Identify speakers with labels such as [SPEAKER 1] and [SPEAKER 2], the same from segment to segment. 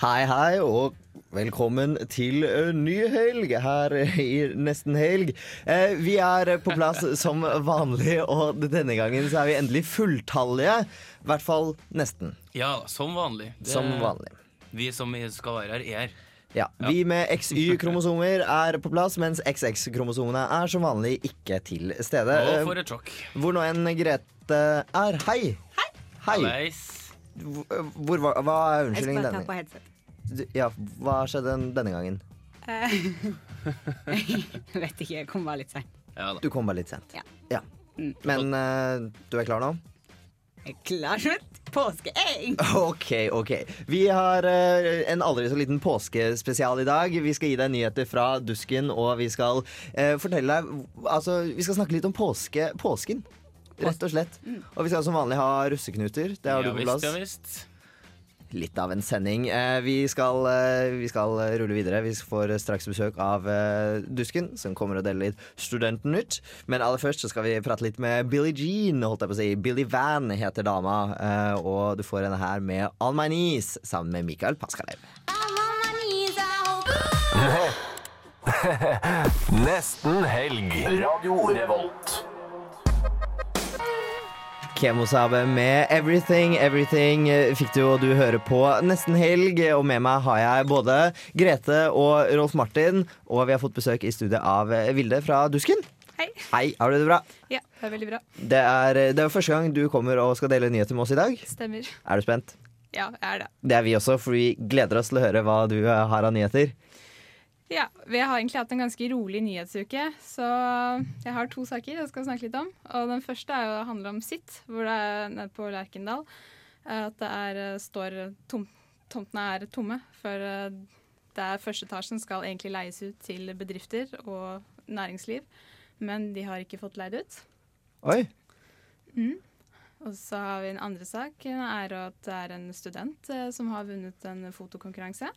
[SPEAKER 1] Hei, hei, og velkommen til ø, ny helg her i Nesten Helg. Eh, Vi er på plass som vanlig, og denne gangen så er vi endelig fulltallige. I hvert fall nesten,
[SPEAKER 2] Ja, som vanlig. Det-
[SPEAKER 1] som vanlig.
[SPEAKER 2] Vi som skal være her, er her.
[SPEAKER 1] Ja, Vi med XY-kromosomer er på plass, mens XX-kromosomene er som vanlig ikke til stede.
[SPEAKER 2] Og
[SPEAKER 1] Eh,
[SPEAKER 2] for et sjokk.
[SPEAKER 1] Hvor nå enn Grete er. Hei! Hei!
[SPEAKER 2] Leis.
[SPEAKER 1] Hvor, hvor, var- hva er
[SPEAKER 3] Jeg skal
[SPEAKER 1] unnskyldningen
[SPEAKER 3] bare ta på
[SPEAKER 1] denne?
[SPEAKER 3] headset.
[SPEAKER 1] Ja, hva skjedde denne gangen?
[SPEAKER 3] Eh, Jeg vet ikke, jeg kom bare litt seint.
[SPEAKER 2] Ja da.
[SPEAKER 1] Du kom bare litt sent.
[SPEAKER 3] Ja.
[SPEAKER 1] Mm. Men eh, du er klar nå?
[SPEAKER 3] Jeg er klar som et påskeegg!
[SPEAKER 1] Ok, ok. Vi har eh, en aldri så liten påskespesial i dag. Vi skal gi deg nyheter fra dusken, og vi skal eh, fortelle deg Altså, vi skal snakke litt om påske, påsken. Rett og slett. Og vi skal som vanlig ha russeknuter. Det har
[SPEAKER 2] Ja
[SPEAKER 1] du på
[SPEAKER 2] visst,
[SPEAKER 1] plass.
[SPEAKER 2] ja visst.
[SPEAKER 1] Litt av en sending. Eh, Vi skal, eh, vi skal rulle videre. Vi får straks besøk av eh, Dusken, som kommer og deler litt Studentnytt. Men aller først så skal vi prate litt med Billie Jean, holdt jeg på å si. Billy Van heter dama. eh, Og du får henne her med On My Knees sammen med Mikael Paskalev.
[SPEAKER 4] Nesten helg. Radio Revolt.
[SPEAKER 1] Kemosabe med Everything, Everything eh, fikk du og du hører på nesten helg. Og med meg har jeg både Grete og Rolf Martin, og vi har fått besøk i studiet av eh, Vilde fra Dusken.
[SPEAKER 3] Hei.
[SPEAKER 1] Hei, har du det bra?
[SPEAKER 5] Ja, det er veldig bra.
[SPEAKER 1] Det er, eh, det er første gang du kommer og skal dele nyheter med oss i dag.
[SPEAKER 5] Stemmer.
[SPEAKER 1] Er du spent?
[SPEAKER 5] Ja, jeg er det.
[SPEAKER 1] Det er vi også, for vi gleder oss til å høre hva du eh, har av nyheter.
[SPEAKER 5] Ja, Vi har egentlig hatt en ganske rolig nyhetsuke, så jeg har to saker jeg skal snakke litt om. Og Den første er jo, handler om sitt, hvor det er nede på Lerkendal. eh, At det er, eh, står tom, Tomtene er tomme, for eh, det er første etasjen skal egentlig leies ut til bedrifter og næringsliv. Men de har ikke fått leid ut.
[SPEAKER 1] Oi.
[SPEAKER 5] Og så har vi en andre sak. eh, er at det er en student eh, som har vunnet en fotokonkurranse.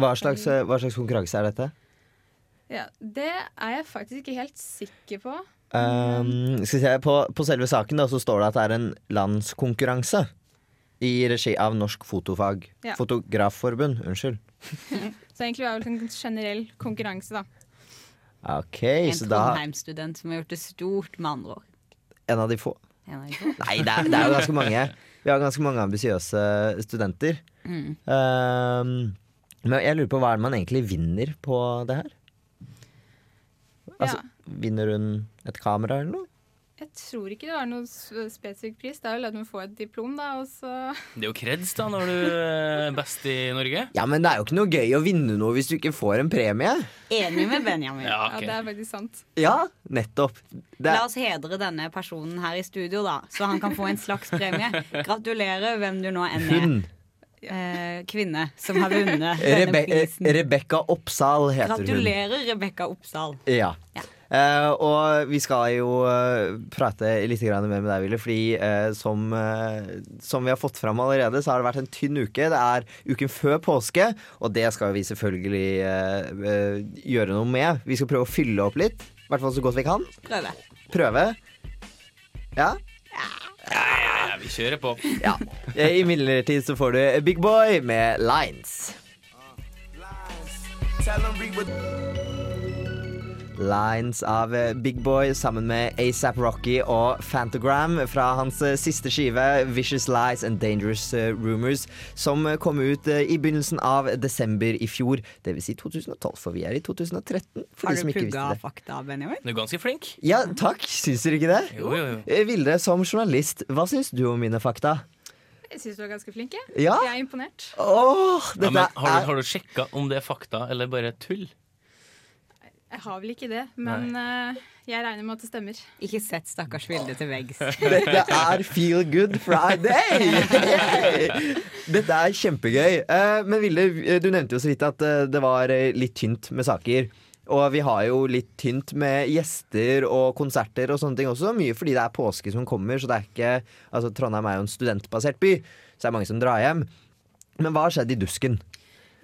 [SPEAKER 1] Hva slags, eh, hva slags konkurranse er dette?
[SPEAKER 5] Ja, Det er jeg faktisk ikke helt sikker på.
[SPEAKER 1] Um, skal vi se, på, på selve saken da, så står det at det er en landskonkurranse i regi av Norsk Fotofag.
[SPEAKER 5] Ja.
[SPEAKER 1] Fotografforbund, unnskyld.
[SPEAKER 5] Så egentlig var det vel en generell konkurranse, da.
[SPEAKER 1] Ok,
[SPEAKER 3] En
[SPEAKER 1] så da
[SPEAKER 3] Trondheim-student som har gjort det stort, med andre ord.
[SPEAKER 1] En av de få.
[SPEAKER 3] En av de to.
[SPEAKER 1] Nei, det er, det er jo ganske mange. Vi har ganske mange ambisiøse studenter. Um, men jeg lurer på hva er det man egentlig vinner på det her? Altså,
[SPEAKER 5] Ja.
[SPEAKER 1] Vinner hun et kamera eller noe?
[SPEAKER 5] Jeg tror ikke det var noen s- spesifikk pris. Det er vel at man får et diplom, da, og så
[SPEAKER 2] Det er jo kreds da når du eh, er best i Norge.
[SPEAKER 1] Ja, men det er jo ikke noe gøy å vinne noe hvis du ikke får en premie.
[SPEAKER 3] Enig med Benjamin.
[SPEAKER 2] Ja,
[SPEAKER 5] Ja,
[SPEAKER 2] ok.
[SPEAKER 5] det er faktisk sant.
[SPEAKER 1] Ja, nettopp. Det
[SPEAKER 3] La
[SPEAKER 1] er,
[SPEAKER 3] oss hedre denne personen her i studio, da, så han kan få en slags premie. Gratulerer, hvem du nå enn er.
[SPEAKER 1] Hun.
[SPEAKER 3] Eh, kvinne som har vunnet denne
[SPEAKER 1] Rebe eh,
[SPEAKER 3] prisen.
[SPEAKER 1] Rebekka Oppsal heter hun.
[SPEAKER 3] Gratulerer, Rebekka Oppsal.
[SPEAKER 1] Ja.
[SPEAKER 3] Ja.
[SPEAKER 1] Eh, og vi skal jo eh, prate litt grann mer med deg, Ville. Fordi eh, som, eh, som vi har fått fram allerede, så har det vært en tynn uke. Det er uken før påske, og det skal vi selvfølgelig eh, eh, gjøre noe med. Vi skal prøve å fylle opp litt. I hvert fall så godt vi kan.
[SPEAKER 3] Prøve.
[SPEAKER 1] Prøve. Ja.
[SPEAKER 2] Ja, vi kjører på.
[SPEAKER 1] ja. Imidlertid så får du Big Boy med Lines. Lines av Big Boy sammen med ASAP Rocky og Fantagram fra hans eh, siste skive Vicious Lies and Dangerous eh, Rumors, som eh, kom ut eh, i begynnelsen av desember i fjor. Det vil si 2012, for vi er i 2013. For
[SPEAKER 3] Har
[SPEAKER 1] de som
[SPEAKER 3] du
[SPEAKER 1] ikke visste
[SPEAKER 3] pugga
[SPEAKER 1] det.
[SPEAKER 3] fakta, Benjamin?
[SPEAKER 2] Du er ganske flink.
[SPEAKER 1] Ja, takk. Syns dere ikke det?
[SPEAKER 2] Jo, jo, jo.
[SPEAKER 1] Eh, Vilde, som journalist, hva syns du om mine fakta?
[SPEAKER 5] Jeg syns du er ganske flink, jeg.
[SPEAKER 1] Ja?
[SPEAKER 5] Jeg er imponert.
[SPEAKER 1] Åh,
[SPEAKER 2] Ja,
[SPEAKER 1] dette
[SPEAKER 2] men har du,
[SPEAKER 1] er
[SPEAKER 2] har du sjekka om det er fakta eller bare tull?
[SPEAKER 5] Jeg har vel ikke det, men eh, jeg regner med at det stemmer.
[SPEAKER 3] Ikke sett stakkars Vilde til veggs.
[SPEAKER 1] Dette er Feel Good Friday! Yay! Dette er kjempegøy. Eh, Men Vilde, du nevnte jo så vidt at eh, det var eh, litt tynt med saker. Og vi har jo litt tynt med gjester og konserter og sånne ting også. Mye fordi det er påske som kommer, så det er ikke Altså, Trondheim er jo en studentbasert by, så det er mange som drar hjem. Men hva har skjedd i dusken?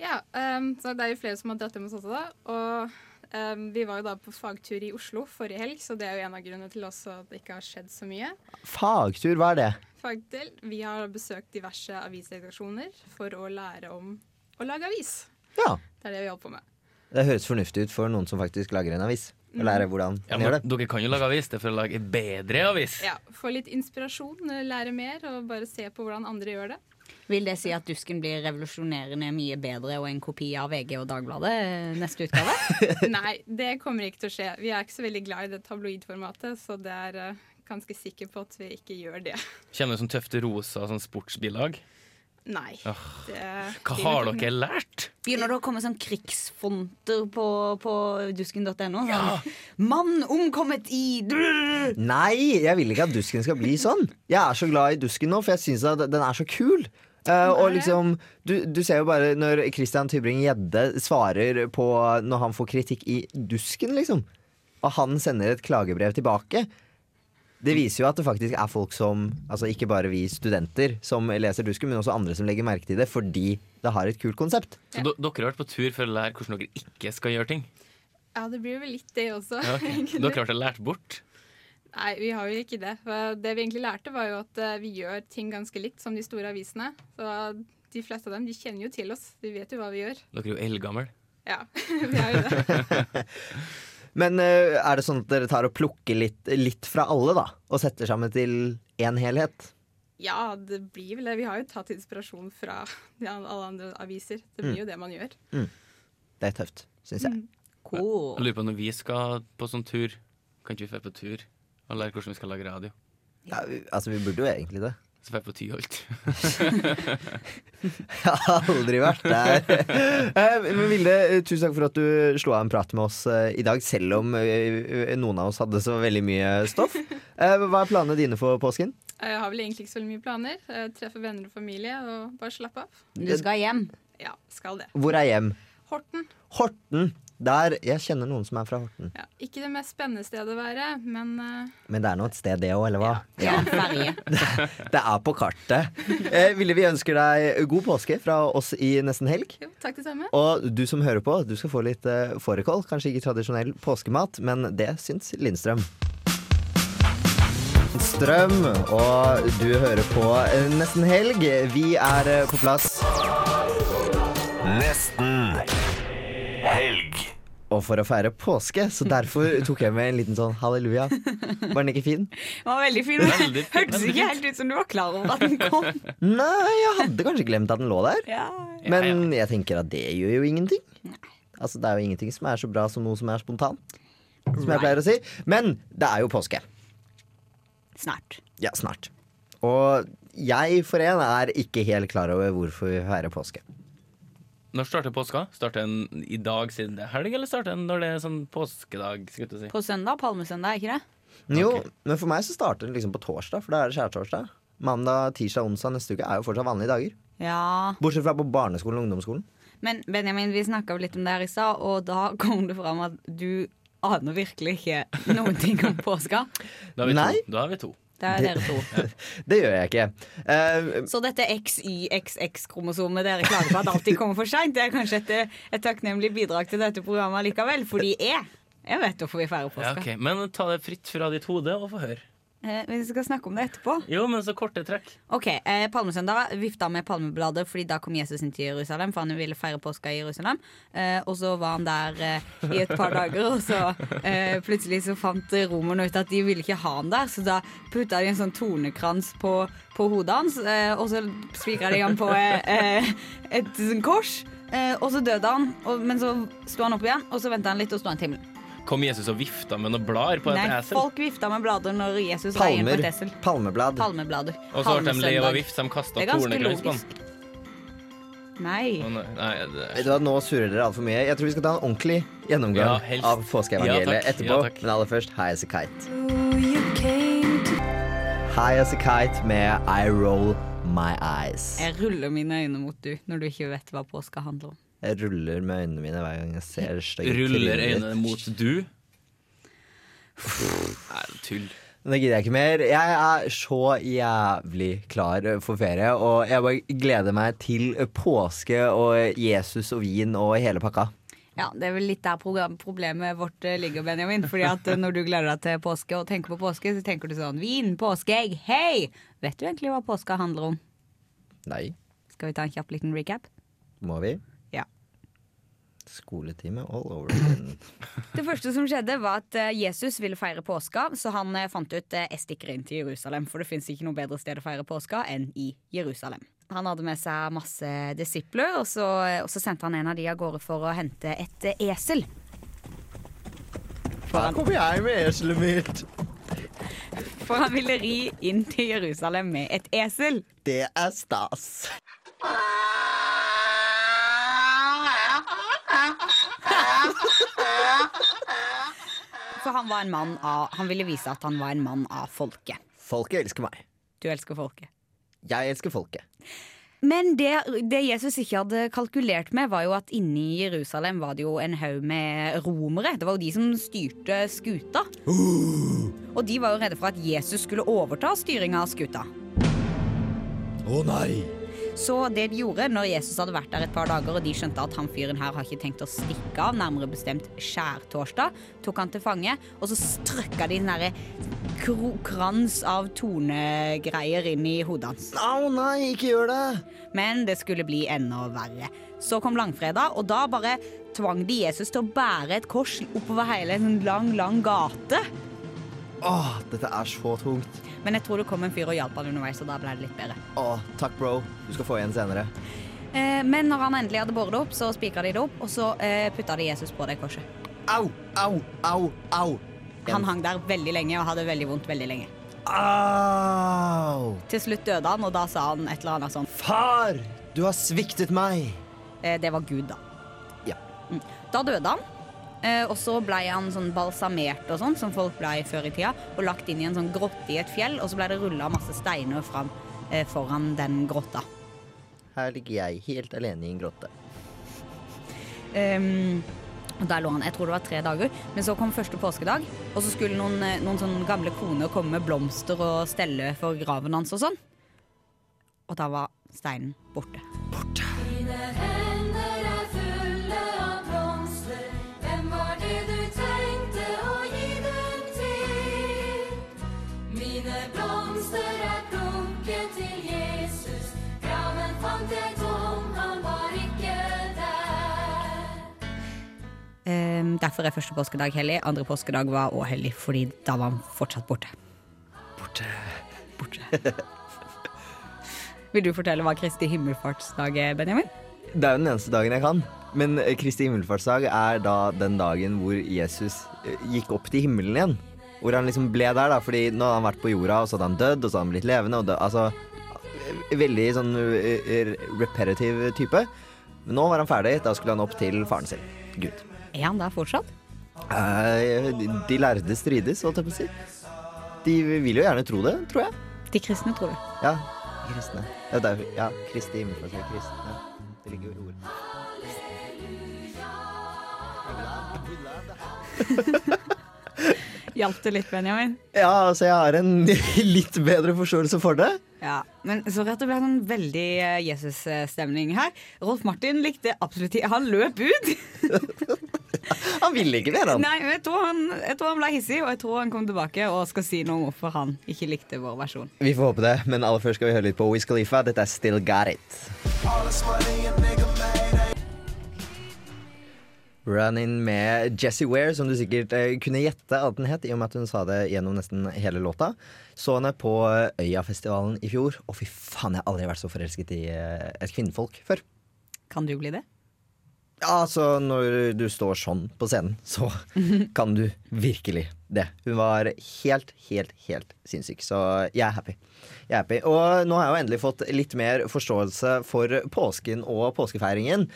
[SPEAKER 5] Ja, ehm, så Det er jo flere som har dratt hjem hos oss også, da. Og ehm, vi var jo da på fagtur i Oslo forrige helg, så det er jo en av grunnene til også at det ikke har skjedd så mye.
[SPEAKER 1] Fagtur, hva er det?
[SPEAKER 5] Fagdel. Vi har besøkt diverse avisredaksjoner for å lære om å lage avis.
[SPEAKER 1] Ja.
[SPEAKER 5] Det er det vi holder på med.
[SPEAKER 1] Det høres fornuftig ut for noen som faktisk lager en avis. Å lære hvordan
[SPEAKER 2] Ja,
[SPEAKER 1] man gjør
[SPEAKER 2] men,
[SPEAKER 1] det.
[SPEAKER 2] dere kan jo lage avis. Det er for å lage en bedre avis.
[SPEAKER 5] Ja, Få litt inspirasjon, eh, lære mer og bare se på hvordan andre gjør det.
[SPEAKER 3] Vil det si at Dusken blir revolusjonerende mye bedre og en kopi av VG og Dagbladet eh, neste utgave?
[SPEAKER 5] Nei, det kommer ikke til å skje. Vi er ikke så veldig glad i det tabloidformatet, så det er eh, ganske sikker på at vi ikke gjør det.
[SPEAKER 2] Kjenner du sånn tøfte rosa sånn sportsbilag?
[SPEAKER 5] Nei. Det,
[SPEAKER 2] Hva har dere lært?
[SPEAKER 3] Begynner det å komme sånn krigsfonter på, på dusken.no? Sånn, 'Mann omkommet i drrrr».
[SPEAKER 1] Nei, jeg vil ikke at dusken skal bli sånn. Jeg er så glad i dusken nå, for jeg syns at den er så kul. Eh, og liksom, du, du ser jo bare når Christian Tybring-Gjedde svarer på når han får kritikk i dusken, liksom. Og han sender et klagebrev tilbake. Det viser jo at det faktisk er folk som Altså ikke bare vi studenter som leser dusken, men også andre som legger merke til det fordi det har et kult konsept.
[SPEAKER 2] Så do- dere har vært på tur for å lære hvordan dere ikke skal gjøre ting?
[SPEAKER 5] Ja, det blir vel litt det også.
[SPEAKER 2] Ja, ok.
[SPEAKER 5] egentlig.
[SPEAKER 2] Dere har vært lært bort?
[SPEAKER 5] Nei, vi har jo ikke det. For det vi egentlig lærte, var jo at eh, vi gjør ting ganske likt som de store avisene. Så de fleste av dem de kjenner jo til oss. De vet jo hva vi gjør.
[SPEAKER 2] Dere er jo eldgamle.
[SPEAKER 5] Ja, vi er jo det.
[SPEAKER 1] Men eh, er det sånn at dere tar og plukker litt, litt fra alle, da? Og setter sammen til én helhet?
[SPEAKER 5] Ja, det blir vel det. Vi har jo tatt inspirasjon fra de an- alle andre aviser. Det
[SPEAKER 1] Mm.
[SPEAKER 5] blir jo det man gjør.
[SPEAKER 1] Det er tøft, syns jeg.
[SPEAKER 2] Jeg
[SPEAKER 3] Cool.
[SPEAKER 2] lurer på når vi skal på sånn tur. Kan ikke vi dra på tur og lære hvordan vi skal lage radio?
[SPEAKER 1] Ja, vi, altså, vi burde jo egentlig det.
[SPEAKER 2] Så drar vi på Tyholt.
[SPEAKER 1] Jeg har aldri vært der. Eh, Men Vilde, eh, tusen takk for at du slo av en prat med oss eh, i dag, selv om eh, noen av oss hadde så veldig mye stoff. Eh, Hva er planene dine for påsken?
[SPEAKER 5] Jeg har vel egentlig ikke så veldig mye planer. Eh, Treffe venner og familie og bare slappe av.
[SPEAKER 3] Du skal hjem.
[SPEAKER 5] Ja, skal det.
[SPEAKER 1] Hvor er hjem?
[SPEAKER 5] Horten.
[SPEAKER 1] Horten. Der, Jeg kjenner noen som er fra Horten.
[SPEAKER 5] Ja, ikke det mest spennende stedet å være, men eh,
[SPEAKER 1] Men det er nå et sted, det òg, eller hva?
[SPEAKER 3] Ja, ferje.
[SPEAKER 1] Det er på kartet. Eh, Ville, vi ønsker deg god påske fra oss i Nesten Helg.
[SPEAKER 5] jo, takk det samme.
[SPEAKER 1] Og du som hører på, du skal få litt eh, fårikål. Kanskje ikke tradisjonell påskemat, men det syns Lindstrøm. Strøm, og du hører på eh, Nesten Helg. Vi er eh, på plass.
[SPEAKER 4] Nesten helg.
[SPEAKER 1] Og for å feire påske, så derfor tok jeg med en liten sånn halleluja. Var den ikke fin?
[SPEAKER 3] Det var veldig fin.
[SPEAKER 2] Veldig fin.
[SPEAKER 3] Hørtes ikke helt ut som du var klar over at den kom.
[SPEAKER 1] Nei, jeg hadde kanskje glemt at den lå der.
[SPEAKER 3] Ja.
[SPEAKER 1] Men jeg tenker at det gjør jo ingenting. Altså, det er jo ingenting som er så bra som noe som er spontant. Som jeg pleier å si. Men det er jo påske.
[SPEAKER 3] Snart.
[SPEAKER 1] Ja, snart. Og jeg for en er ikke helt klar over hvorfor vi feirer påske.
[SPEAKER 2] Når starter påska? Starter den i dag siden det er helg, eller starter den når det er sånn påskedag? skulle jeg til å si?
[SPEAKER 3] På søndag. Palmesøndag, er ikke det?
[SPEAKER 1] Jo, men for meg så starter det liksom på torsdag, for da er det skjærtorsdag. Mandag, tirsdag, onsdag neste uke er jo fortsatt vanlige dager.
[SPEAKER 3] Ja.
[SPEAKER 1] Bortsett fra på barneskolen og ungdomsskolen.
[SPEAKER 3] Men Benjamin, vi snakka litt om det her i stad, og da kom det fram at du aner virkelig ikke noen ting om påska.
[SPEAKER 2] Da er vi
[SPEAKER 1] Nei.
[SPEAKER 2] to. Da er vi to.
[SPEAKER 3] Det er dere to.
[SPEAKER 1] Det gjør jeg ikke. Eh,
[SPEAKER 3] Så dette XYXX-kromosomet dere klager på at alltid kommer for seint, det er kanskje et, et takknemlig bidrag til dette programmet likevel. Fordi jeg, jeg vet hvorfor vi feirer
[SPEAKER 2] Ja,
[SPEAKER 3] påska.
[SPEAKER 2] ok. Men ta det fritt fra ditt hode og få høre.
[SPEAKER 3] Eh, Vi skal snakke om det etterpå.
[SPEAKER 2] Jo, men så korte trekk.
[SPEAKER 3] Ok, eh, Palmesøndag vifta med palmeblader fordi da kom Jesus inn til Jerusalem. For han ville feire påska i Jerusalem. Eh, og så var han der eh, i et par dager, og så eh, plutselig så fant romerne ut at de ville ikke ha han der. Så da putta de en sånn tornekrans på, på hodet hans, eh, og så spikra de han på eh, eh, et sånn kors. Eh, og så døde han, og, men så sto han opp igjen, og så venta han litt, og sto han til himmelen.
[SPEAKER 2] Kom Jesus og vifta med noen blader på et
[SPEAKER 3] Nei,
[SPEAKER 2] esel?
[SPEAKER 3] folk vifta med blader når Jesus var inne på
[SPEAKER 1] palmer.
[SPEAKER 3] et esel.
[SPEAKER 1] Palmeblad.
[SPEAKER 3] Palmeblader.
[SPEAKER 2] Og så ble de lei av å
[SPEAKER 3] Palmesøndag.
[SPEAKER 2] vifte, de kasta
[SPEAKER 3] Det er ganske
[SPEAKER 2] tornekrans på
[SPEAKER 3] logisk. Nei.
[SPEAKER 2] den. Nei, det
[SPEAKER 1] Vet du hva, Nå surrer dere altfor mye. Jeg tror vi skal ta en ordentlig
[SPEAKER 2] Ja,
[SPEAKER 1] gjennomgang
[SPEAKER 2] helst.
[SPEAKER 1] av
[SPEAKER 2] Ja,
[SPEAKER 1] påskeevangeliet
[SPEAKER 2] takk.
[SPEAKER 1] etterpå.
[SPEAKER 2] Ja, takk.
[SPEAKER 1] Men aller først High As A Kite. High As A Kite med I Roll My Eyes.
[SPEAKER 3] Jeg ruller mine øyne mot du når du ikke vet hva påska handler om.
[SPEAKER 1] Jeg ruller med øynene mine hver gang jeg ser det stygge
[SPEAKER 2] Ruller
[SPEAKER 1] trynet ditt.
[SPEAKER 2] øynene mot du? Nei, tull.
[SPEAKER 1] Men Det gidder jeg ikke mer. Jeg er så jævlig klar for ferie, og jeg bare gleder meg til påske og Jesus og vin og hele pakka.
[SPEAKER 3] Ja, Det er vel litt der program- problemet vårt eh, ligger, Benjamin. Fordi at eh, Når du gleder deg til påske og tenker på påske, så tenker du sånn Vin, påskeegg, hei! Vet du egentlig hva påska handler om?
[SPEAKER 1] Nei,
[SPEAKER 3] Skal vi ta en kjapp liten recap?
[SPEAKER 1] må vi?
[SPEAKER 3] Ja.
[SPEAKER 1] Skoletime all over again.
[SPEAKER 3] Det første som skjedde var at eh, Jesus ville feire påska, så han eh, fant ut eh, jeg stikker inn til Jerusalem, for det fins ikke noe bedre sted å feire påska enn i Jerusalem. Han hadde med seg masse disipler, og så, eh, og så sendte han en av de av gårde for å hente et eh, esel. For
[SPEAKER 1] Her
[SPEAKER 3] han,
[SPEAKER 1] kommer jeg med eselet mitt!
[SPEAKER 3] for han ville ri inn til Jerusalem med et esel.
[SPEAKER 1] Det er stas.
[SPEAKER 3] For han var en mann av Han ville vise at han var en mann av folket.
[SPEAKER 1] Folket elsker meg.
[SPEAKER 3] Du elsker folket.
[SPEAKER 1] Jeg elsker folket.
[SPEAKER 3] Men det, det Jesus ikke hadde kalkulert med, var jo at inne i Jerusalem var det jo en haug med romere. Det var jo de som styrte skuta. Og de var jo redde for at Jesus skulle overta styringa av skuta.
[SPEAKER 1] Å nei!
[SPEAKER 3] Så det de gjorde når Jesus hadde vært der et par dager, og de skjønte at han fyren her har ikke tenkt å stikke av, nærmere bestemt skjærtorsdag, tok han til fange, og så strøkka de en derre kro- krans av tonegreier inn i hodet hans.
[SPEAKER 1] Å nei, ikke gjør det!
[SPEAKER 3] Men det skulle bli enda verre. Så kom langfredag, og da bare tvang de Jesus til å bære et kors oppover hele en sånn lang, lang gate.
[SPEAKER 1] Åh, dette er så tungt.
[SPEAKER 3] Men jeg tror det kom en fyr og hjalp han underveis, og da ble det litt bedre.
[SPEAKER 1] Åh, takk, bro. Du skal få igjen senere.
[SPEAKER 3] Eh, Men når han endelig hadde båret det opp, så spikra de det opp, og så eh, putta de Jesus på det korset.
[SPEAKER 1] Au, au, au, au.
[SPEAKER 3] Han hang der veldig lenge og hadde veldig vondt veldig lenge.
[SPEAKER 1] Au!
[SPEAKER 3] Til slutt døde han, og da sa han et eller annet sånn
[SPEAKER 1] Far, du har sviktet meg.
[SPEAKER 3] eh, Det var Gud, da.
[SPEAKER 1] Ja.
[SPEAKER 3] Mm. Da døde han. eh, Og så ble han sånn balsamert og sånn, som folk ble før i tida, og lagt inn i en sånn grotte i et fjell, og så ble det rulla masse steiner fram eh, foran den grotta.
[SPEAKER 1] Her ligger jeg helt alene i en grotte.
[SPEAKER 3] Ehm, og der lå han. Jeg tror det var tre dager. Men så kom første påskedag, og så skulle noen, eh, noen sånn gamle koner komme med blomster og stelle for graven hans og sånn. Og da var steinen borte.
[SPEAKER 6] Mine hender er fulle av blomster. Hvem var det du tenkte å gi dem til? Mine blomster er plukket til Jesus. Graven fant jeg tom, han var ikke der.
[SPEAKER 3] Ehm, derfor er første påskedag hellig. Andre påskedag var òg hellig, fordi da var han fortsatt borte.
[SPEAKER 1] Borte.
[SPEAKER 3] Vil du fortelle hva Kristi himmelfartsdag er, Benjamin?
[SPEAKER 1] Det er jo den eneste dagen jeg kan. Men eh, Kristi himmelfartsdag er da den dagen hvor Jesus eh, gikk opp til himmelen igjen. Hvor han liksom ble der, da. Fordi nå har han vært på jorda, og så hadde han dødd, og så hadde han blitt levende. Og død, altså eh, Veldig sånn eh, repetitiv type. Men nå var han ferdig. Da skulle han opp til faren sin. Gud.
[SPEAKER 3] Er han der fortsatt?
[SPEAKER 1] Eh, de- De lærde strides, holdt jeg på å si. De vil jo gjerne tro det, tror jeg.
[SPEAKER 3] De kristne, tror du.
[SPEAKER 1] Ja. Kristne. Ja, det er, ja Kristi himmelfartsdag. Kristne. Det ligger jo i ordet.
[SPEAKER 3] Hjalp det litt, Benjamin?
[SPEAKER 1] Ja, altså jeg har en litt bedre forståelse for det.
[SPEAKER 3] Ja, men Sorry at det ble sånn veldig eh, Jesus-stemning her. Rolf Martin likte absolutt ikke Han løp ut!
[SPEAKER 1] Han ville ikke mer, han.
[SPEAKER 3] Nei, men jeg tror, han, jeg tror han ble hissig, og jeg tror han kom tilbake og skal si noe om hvorfor han ikke likte vår versjon.
[SPEAKER 1] Vi får håpe det, men aller først skal vi høre litt på Wiz Khalifa. Dette er Still Got It. Run-in med Jessie Ware, som du sikkert eh, kunne gjette at den het, i og med at hun sa det gjennom nesten hele låta. Så henne på eh, Øyafestivalen i fjor, og fy faen, jeg har aldri vært så forelsket i eh, et kvinnfolk før.
[SPEAKER 3] Kan du bli det?
[SPEAKER 1] Ja, altså når du står sånn på scenen, så kan du virkelig det. Hun var helt, helt, helt sinnssyk. Så jeg er happy. Jeg er happy. Og nå har jeg jo endelig fått litt mer forståelse for påsken og påskefeiringen.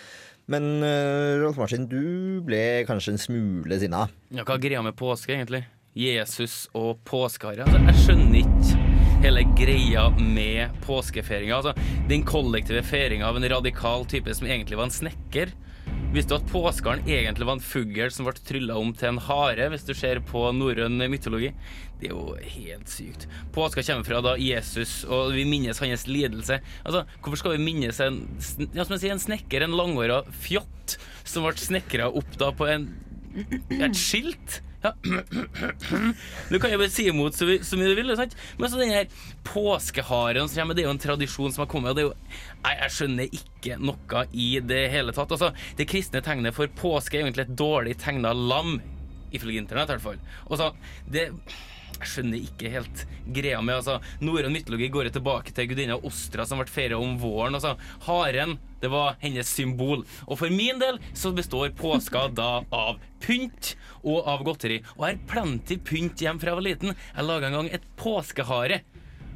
[SPEAKER 1] Men øh, Rolf Martin, du ble kanskje en smule sinna.
[SPEAKER 2] Ja, hva er greia med påske, egentlig? Jesus og påskeharer. Altså, jeg skjønner ikke hele greia med påskefeiringa. Altså, den kollektive feiringa av en radikal type som egentlig var en snekker. Visste du at påskeharen egentlig var en fugl som ble trylla om til en hare, hvis du ser på norrøn mytologi? Det er jo helt sykt. Påska kommer fra da Jesus, og vi minnes hans lidelse. Altså, Hvorfor skal vi minnes en, sn- ja, som jeg sier, en snekker, en langhåra fjott, som ble snekra opp da på en et skilt. Ja. Du kan jo bare si imot så, vi, så mye du vil. Sant? Men så den her påskeharen som kommer, det er jo en tradisjon som har kommet. Og det er jo, nei, jeg skjønner ikke noe i det hele tatt. Altså, det kristne tegnet for påske er jo egentlig et dårlig tegna lam, ifølge internett i hvert fall. Og så, det... Jeg skjønner ikke helt greia med altså, Norrøn mytologi går jo tilbake til gudinna Ostra som ble feira om våren. Altså, haren det var hennes symbol. Og for min del så består påska da av pynt og av godteri. Og jeg har plenty pynt hjem fra jeg var liten. Jeg laga en gang et påskehare.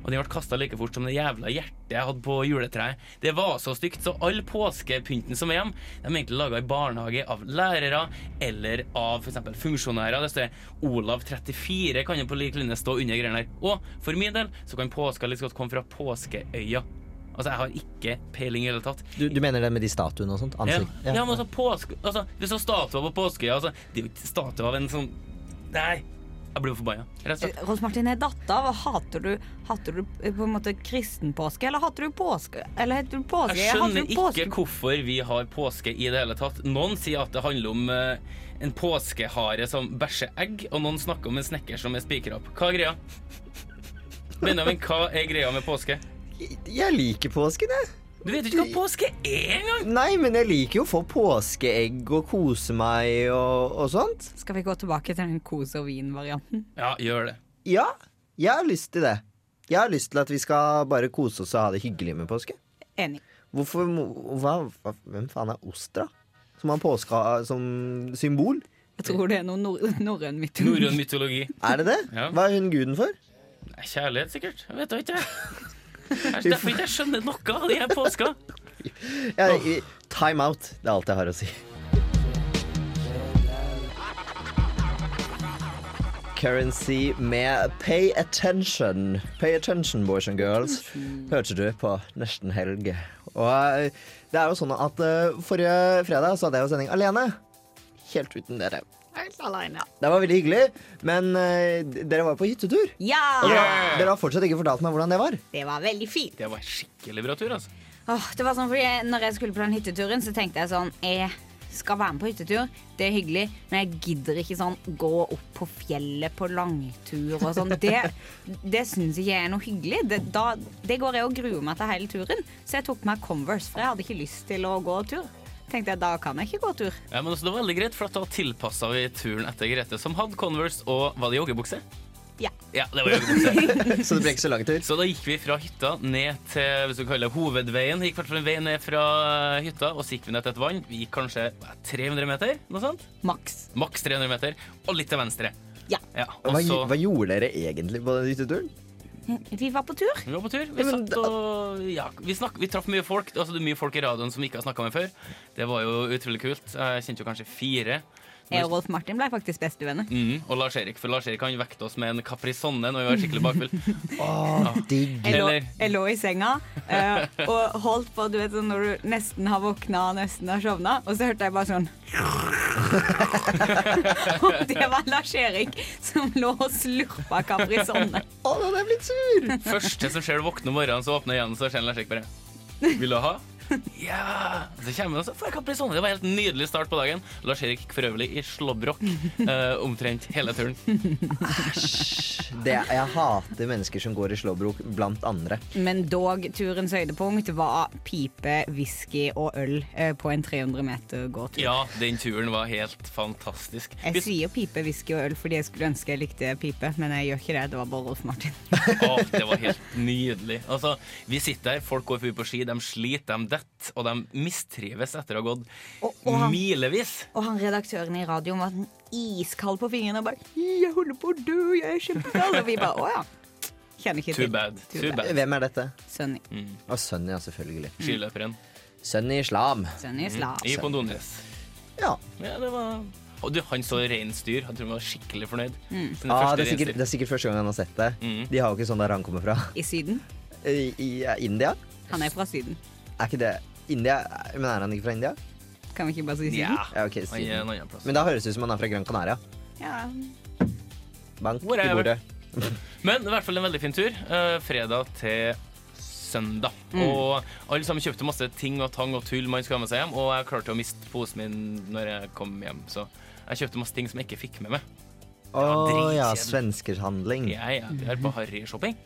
[SPEAKER 2] Og den ble kasta like fort som det jævla hjertet jeg hadde på juletreet. Det var så stygt, så all påskepynten som er hjem, de er egentlig laga i barnehage av lærere eller av f.eks. funksjonærer. Det står Olav 34 kan jo på lik linje stå under greiene der. Og for min del så kan påska litt godt komme fra Påskeøya. Altså, jeg har ikke peiling i det hele tatt.
[SPEAKER 1] Du, du mener det med de statuene og sånt?
[SPEAKER 2] Ja.
[SPEAKER 1] Ansikt?
[SPEAKER 2] ja, men altså, påske, altså Hvis du har statuer på påskeøya, altså, det er jo ikke statuer av en sånn Nei! Jeg blir jo forbanna. Rett og slett.
[SPEAKER 3] Eh, Rolf Martin er datt av. og Hater du, hater du eh, på en måte kristen påske, eller hater du påske? Eller heter du
[SPEAKER 2] Altså,
[SPEAKER 3] påske?
[SPEAKER 2] Jeg
[SPEAKER 3] hater
[SPEAKER 2] skjønner
[SPEAKER 3] du
[SPEAKER 2] ikke hvorfor vi har påske i det hele tatt. Noen sier at det handler om eh, en påskehare som bæsjer egg, og noen snakker om en snekker som er spikra opp. Hva er greia? Benjamin, hva er greia med påske?
[SPEAKER 1] Jeg liker påsken, jeg.
[SPEAKER 2] Du vet jo ikke hva påske er engang!
[SPEAKER 1] Nei, men jeg liker jo å få påskeegg og kose meg og, og sånt.
[SPEAKER 3] Skal vi gå tilbake til den kos og vin-varianten?
[SPEAKER 2] Ja, gjør det.
[SPEAKER 1] Ja, jeg har lyst til det. Jeg har lyst til at vi skal bare kose oss og ha det hyggelig med påske.
[SPEAKER 3] Enig.
[SPEAKER 1] Hvorfor må- hva, hva, Hvem faen er Ostra? Som har påska som symbol?
[SPEAKER 3] Jeg tror det er noe nor norrøn mytologi.
[SPEAKER 2] Norrøn mytologi.
[SPEAKER 1] Er det det?
[SPEAKER 2] Ja.
[SPEAKER 1] Hva er hun guden for?
[SPEAKER 2] Nei, Kjærlighet, sikkert. Jeg vet da ikke. Det er derfor ikke jeg skjønner noe av de her påska.
[SPEAKER 1] Jeg, i- time out. Det er alt jeg har å si. Currency med Pay Attention. Pay attention, boys and girls. Hørte du på nesten helg. Og eh, det er jo sånn at eh, forrige fredag så hadde jeg jo sending alene. Helt uten dere.
[SPEAKER 5] Helt alene.
[SPEAKER 1] Det var veldig hyggelig, men eh, dere var jo på hyttetur. Og
[SPEAKER 3] Ja!
[SPEAKER 1] dere, dere har fortsatt ikke fortalt meg hvordan det var.
[SPEAKER 3] Det var veldig fint.
[SPEAKER 2] Det var en skikkelig bra tur, altså.
[SPEAKER 3] Åh, det var sånn fordi jeg, Når jeg skulle på den hytteturen, så tenkte jeg sånn Jeg skal være med på hyttetur, det er hyggelig, men jeg gidder ikke sånn gå opp på fjellet på langtur og sånn. Det, det syns ikke jeg er noe hyggelig. Det, da, det går jeg og gruer meg til hele turen. Så jeg tok meg Converse, for jeg hadde ikke lyst til å gå tur. Tenkte jeg, Da kan jeg ikke gå tur.
[SPEAKER 2] Ja, men altså, det var veldig greit, for at da tilpassa vi turen etter Grete, som hadde Converse og Var det joggebukse?
[SPEAKER 3] Ja.
[SPEAKER 2] Ja, det var joggebukse.
[SPEAKER 1] Så det ble ikke så lang tur.
[SPEAKER 2] Så da gikk vi fra hytta ned til hvis du kaller det hovedveien. Gikk hvertfall en vei ned fra eh, hytta, og så gikk vi ned til et vann. Vi gikk kanskje hva, 300 meter, noe sånt.
[SPEAKER 3] Maks.
[SPEAKER 2] Maks 300 meter, og litt til venstre.
[SPEAKER 3] Ja.
[SPEAKER 2] Ja, og
[SPEAKER 1] Hva,
[SPEAKER 2] så
[SPEAKER 1] hva gjorde dere egentlig på den hytteturen?
[SPEAKER 3] Vi var på tur.
[SPEAKER 2] vi var på tur. Vi,
[SPEAKER 1] men
[SPEAKER 2] satt og, ja, vi, snakk, vi traff mye folk. Altså, det er mye folk i radioen som vi ikke har snakka med før. Det var jo utrolig kult. Jeg kjente jo kanskje fire.
[SPEAKER 3] Jeg og Rolf Martin ble faktisk bestevenner.
[SPEAKER 2] Mm, og Lars-Erik, for Lars-Erik han vekte oss med en Caprisonne når vi var skikkelig bakfull.
[SPEAKER 1] Å, digg.
[SPEAKER 3] Jeg lå,
[SPEAKER 2] Eller-
[SPEAKER 3] jeg lå i senga eh, og holdt på du vet, sånn når du nesten har våkna og nesten har sovna, og så hørte jeg bare sånn Og det var Lars-Erik som lå og slurpa Caprisonne.
[SPEAKER 1] Å, nå hadde jeg blitt sur!
[SPEAKER 2] Første som skjer du våkner om morgenen, så åpner øynene, så ser Lars-Erik bare Vil du ha? Ja! Så kommer han, og så får jeg Caprisonne. Det var en helt nydelig start på dagen. Lars-Erik gikk for øvrig i slåbrok eh, omtrent hele turen.
[SPEAKER 1] Det, jeg hater mennesker som går i slåbrok blant andre.
[SPEAKER 3] Men dog, turens høydepunkt var pipe, whisky og øl eh, på en 300 meter gåtur.
[SPEAKER 2] Ja, den turen var helt fantastisk.
[SPEAKER 3] Jeg
[SPEAKER 2] Vi,
[SPEAKER 3] sier pipe, whisky og øl fordi jeg skulle ønske jeg likte pipe, men jeg gjør ikke det. Det var bare Rolf Martin.
[SPEAKER 2] å, det var helt nydelig. Altså, vi sitter her, folk går forbi på ski, de sliter, de detter, og de mistrives etter å ha gått
[SPEAKER 3] Og, og han
[SPEAKER 2] milevis.
[SPEAKER 3] Og han redaktøren i radioen var sånn iskald på fingrene og bare «Hi, 'Jeg holder på å dø, jeg er kjempegal'. Og vi bare 'Å ja'. Kjenner ikke
[SPEAKER 2] Too
[SPEAKER 3] til.
[SPEAKER 2] bad. Too bad. Mm.
[SPEAKER 1] Hvem er dette?
[SPEAKER 3] Sunny.
[SPEAKER 1] Å, Sunny, ja, selvfølgelig.
[SPEAKER 2] Skiløperen
[SPEAKER 1] Sunny Islam.
[SPEAKER 2] Mm.
[SPEAKER 3] Sunny Slav.
[SPEAKER 2] i Pondondres.
[SPEAKER 1] Ja.
[SPEAKER 2] Ja, det var Og du, han så reinsdyr. Han tror han var skikkelig fornøyd. Sin
[SPEAKER 1] Ah,
[SPEAKER 2] første
[SPEAKER 1] det, er sikkert,
[SPEAKER 2] reinsdyr.
[SPEAKER 1] det er sikkert første gang han har sett det.
[SPEAKER 2] Mhm.
[SPEAKER 1] De har jo ikke sånn der han kommer fra.
[SPEAKER 3] I Syden.
[SPEAKER 1] I, i eh, India?
[SPEAKER 3] Han er fra Syden.
[SPEAKER 1] Er ikke det India? Men er han ikke fra India?
[SPEAKER 3] Kan vi ikke bare si Syden?
[SPEAKER 2] Ja.
[SPEAKER 1] Ja, ok,
[SPEAKER 2] Han er
[SPEAKER 1] Syden.
[SPEAKER 2] en annen plass.
[SPEAKER 1] Men da høres det ut som han er fra Gran Canaria.
[SPEAKER 5] Ja.
[SPEAKER 1] Bank i
[SPEAKER 2] Whatever.
[SPEAKER 1] bordet.
[SPEAKER 2] Men i hvert fall en veldig fin tur. eh, fredag til søndag.
[SPEAKER 1] Mm.
[SPEAKER 2] Og alle sammen kjøpte masse ting og tang og tull man skulle ha med seg hjem, og jeg klarte å miste posen min når jeg kom hjem, så jeg kjøpte masse ting som jeg ikke fikk med meg.
[SPEAKER 1] Å ja,
[SPEAKER 2] dritkjedelig.
[SPEAKER 1] svenskershandling.
[SPEAKER 2] Jeg er her på harryshopping.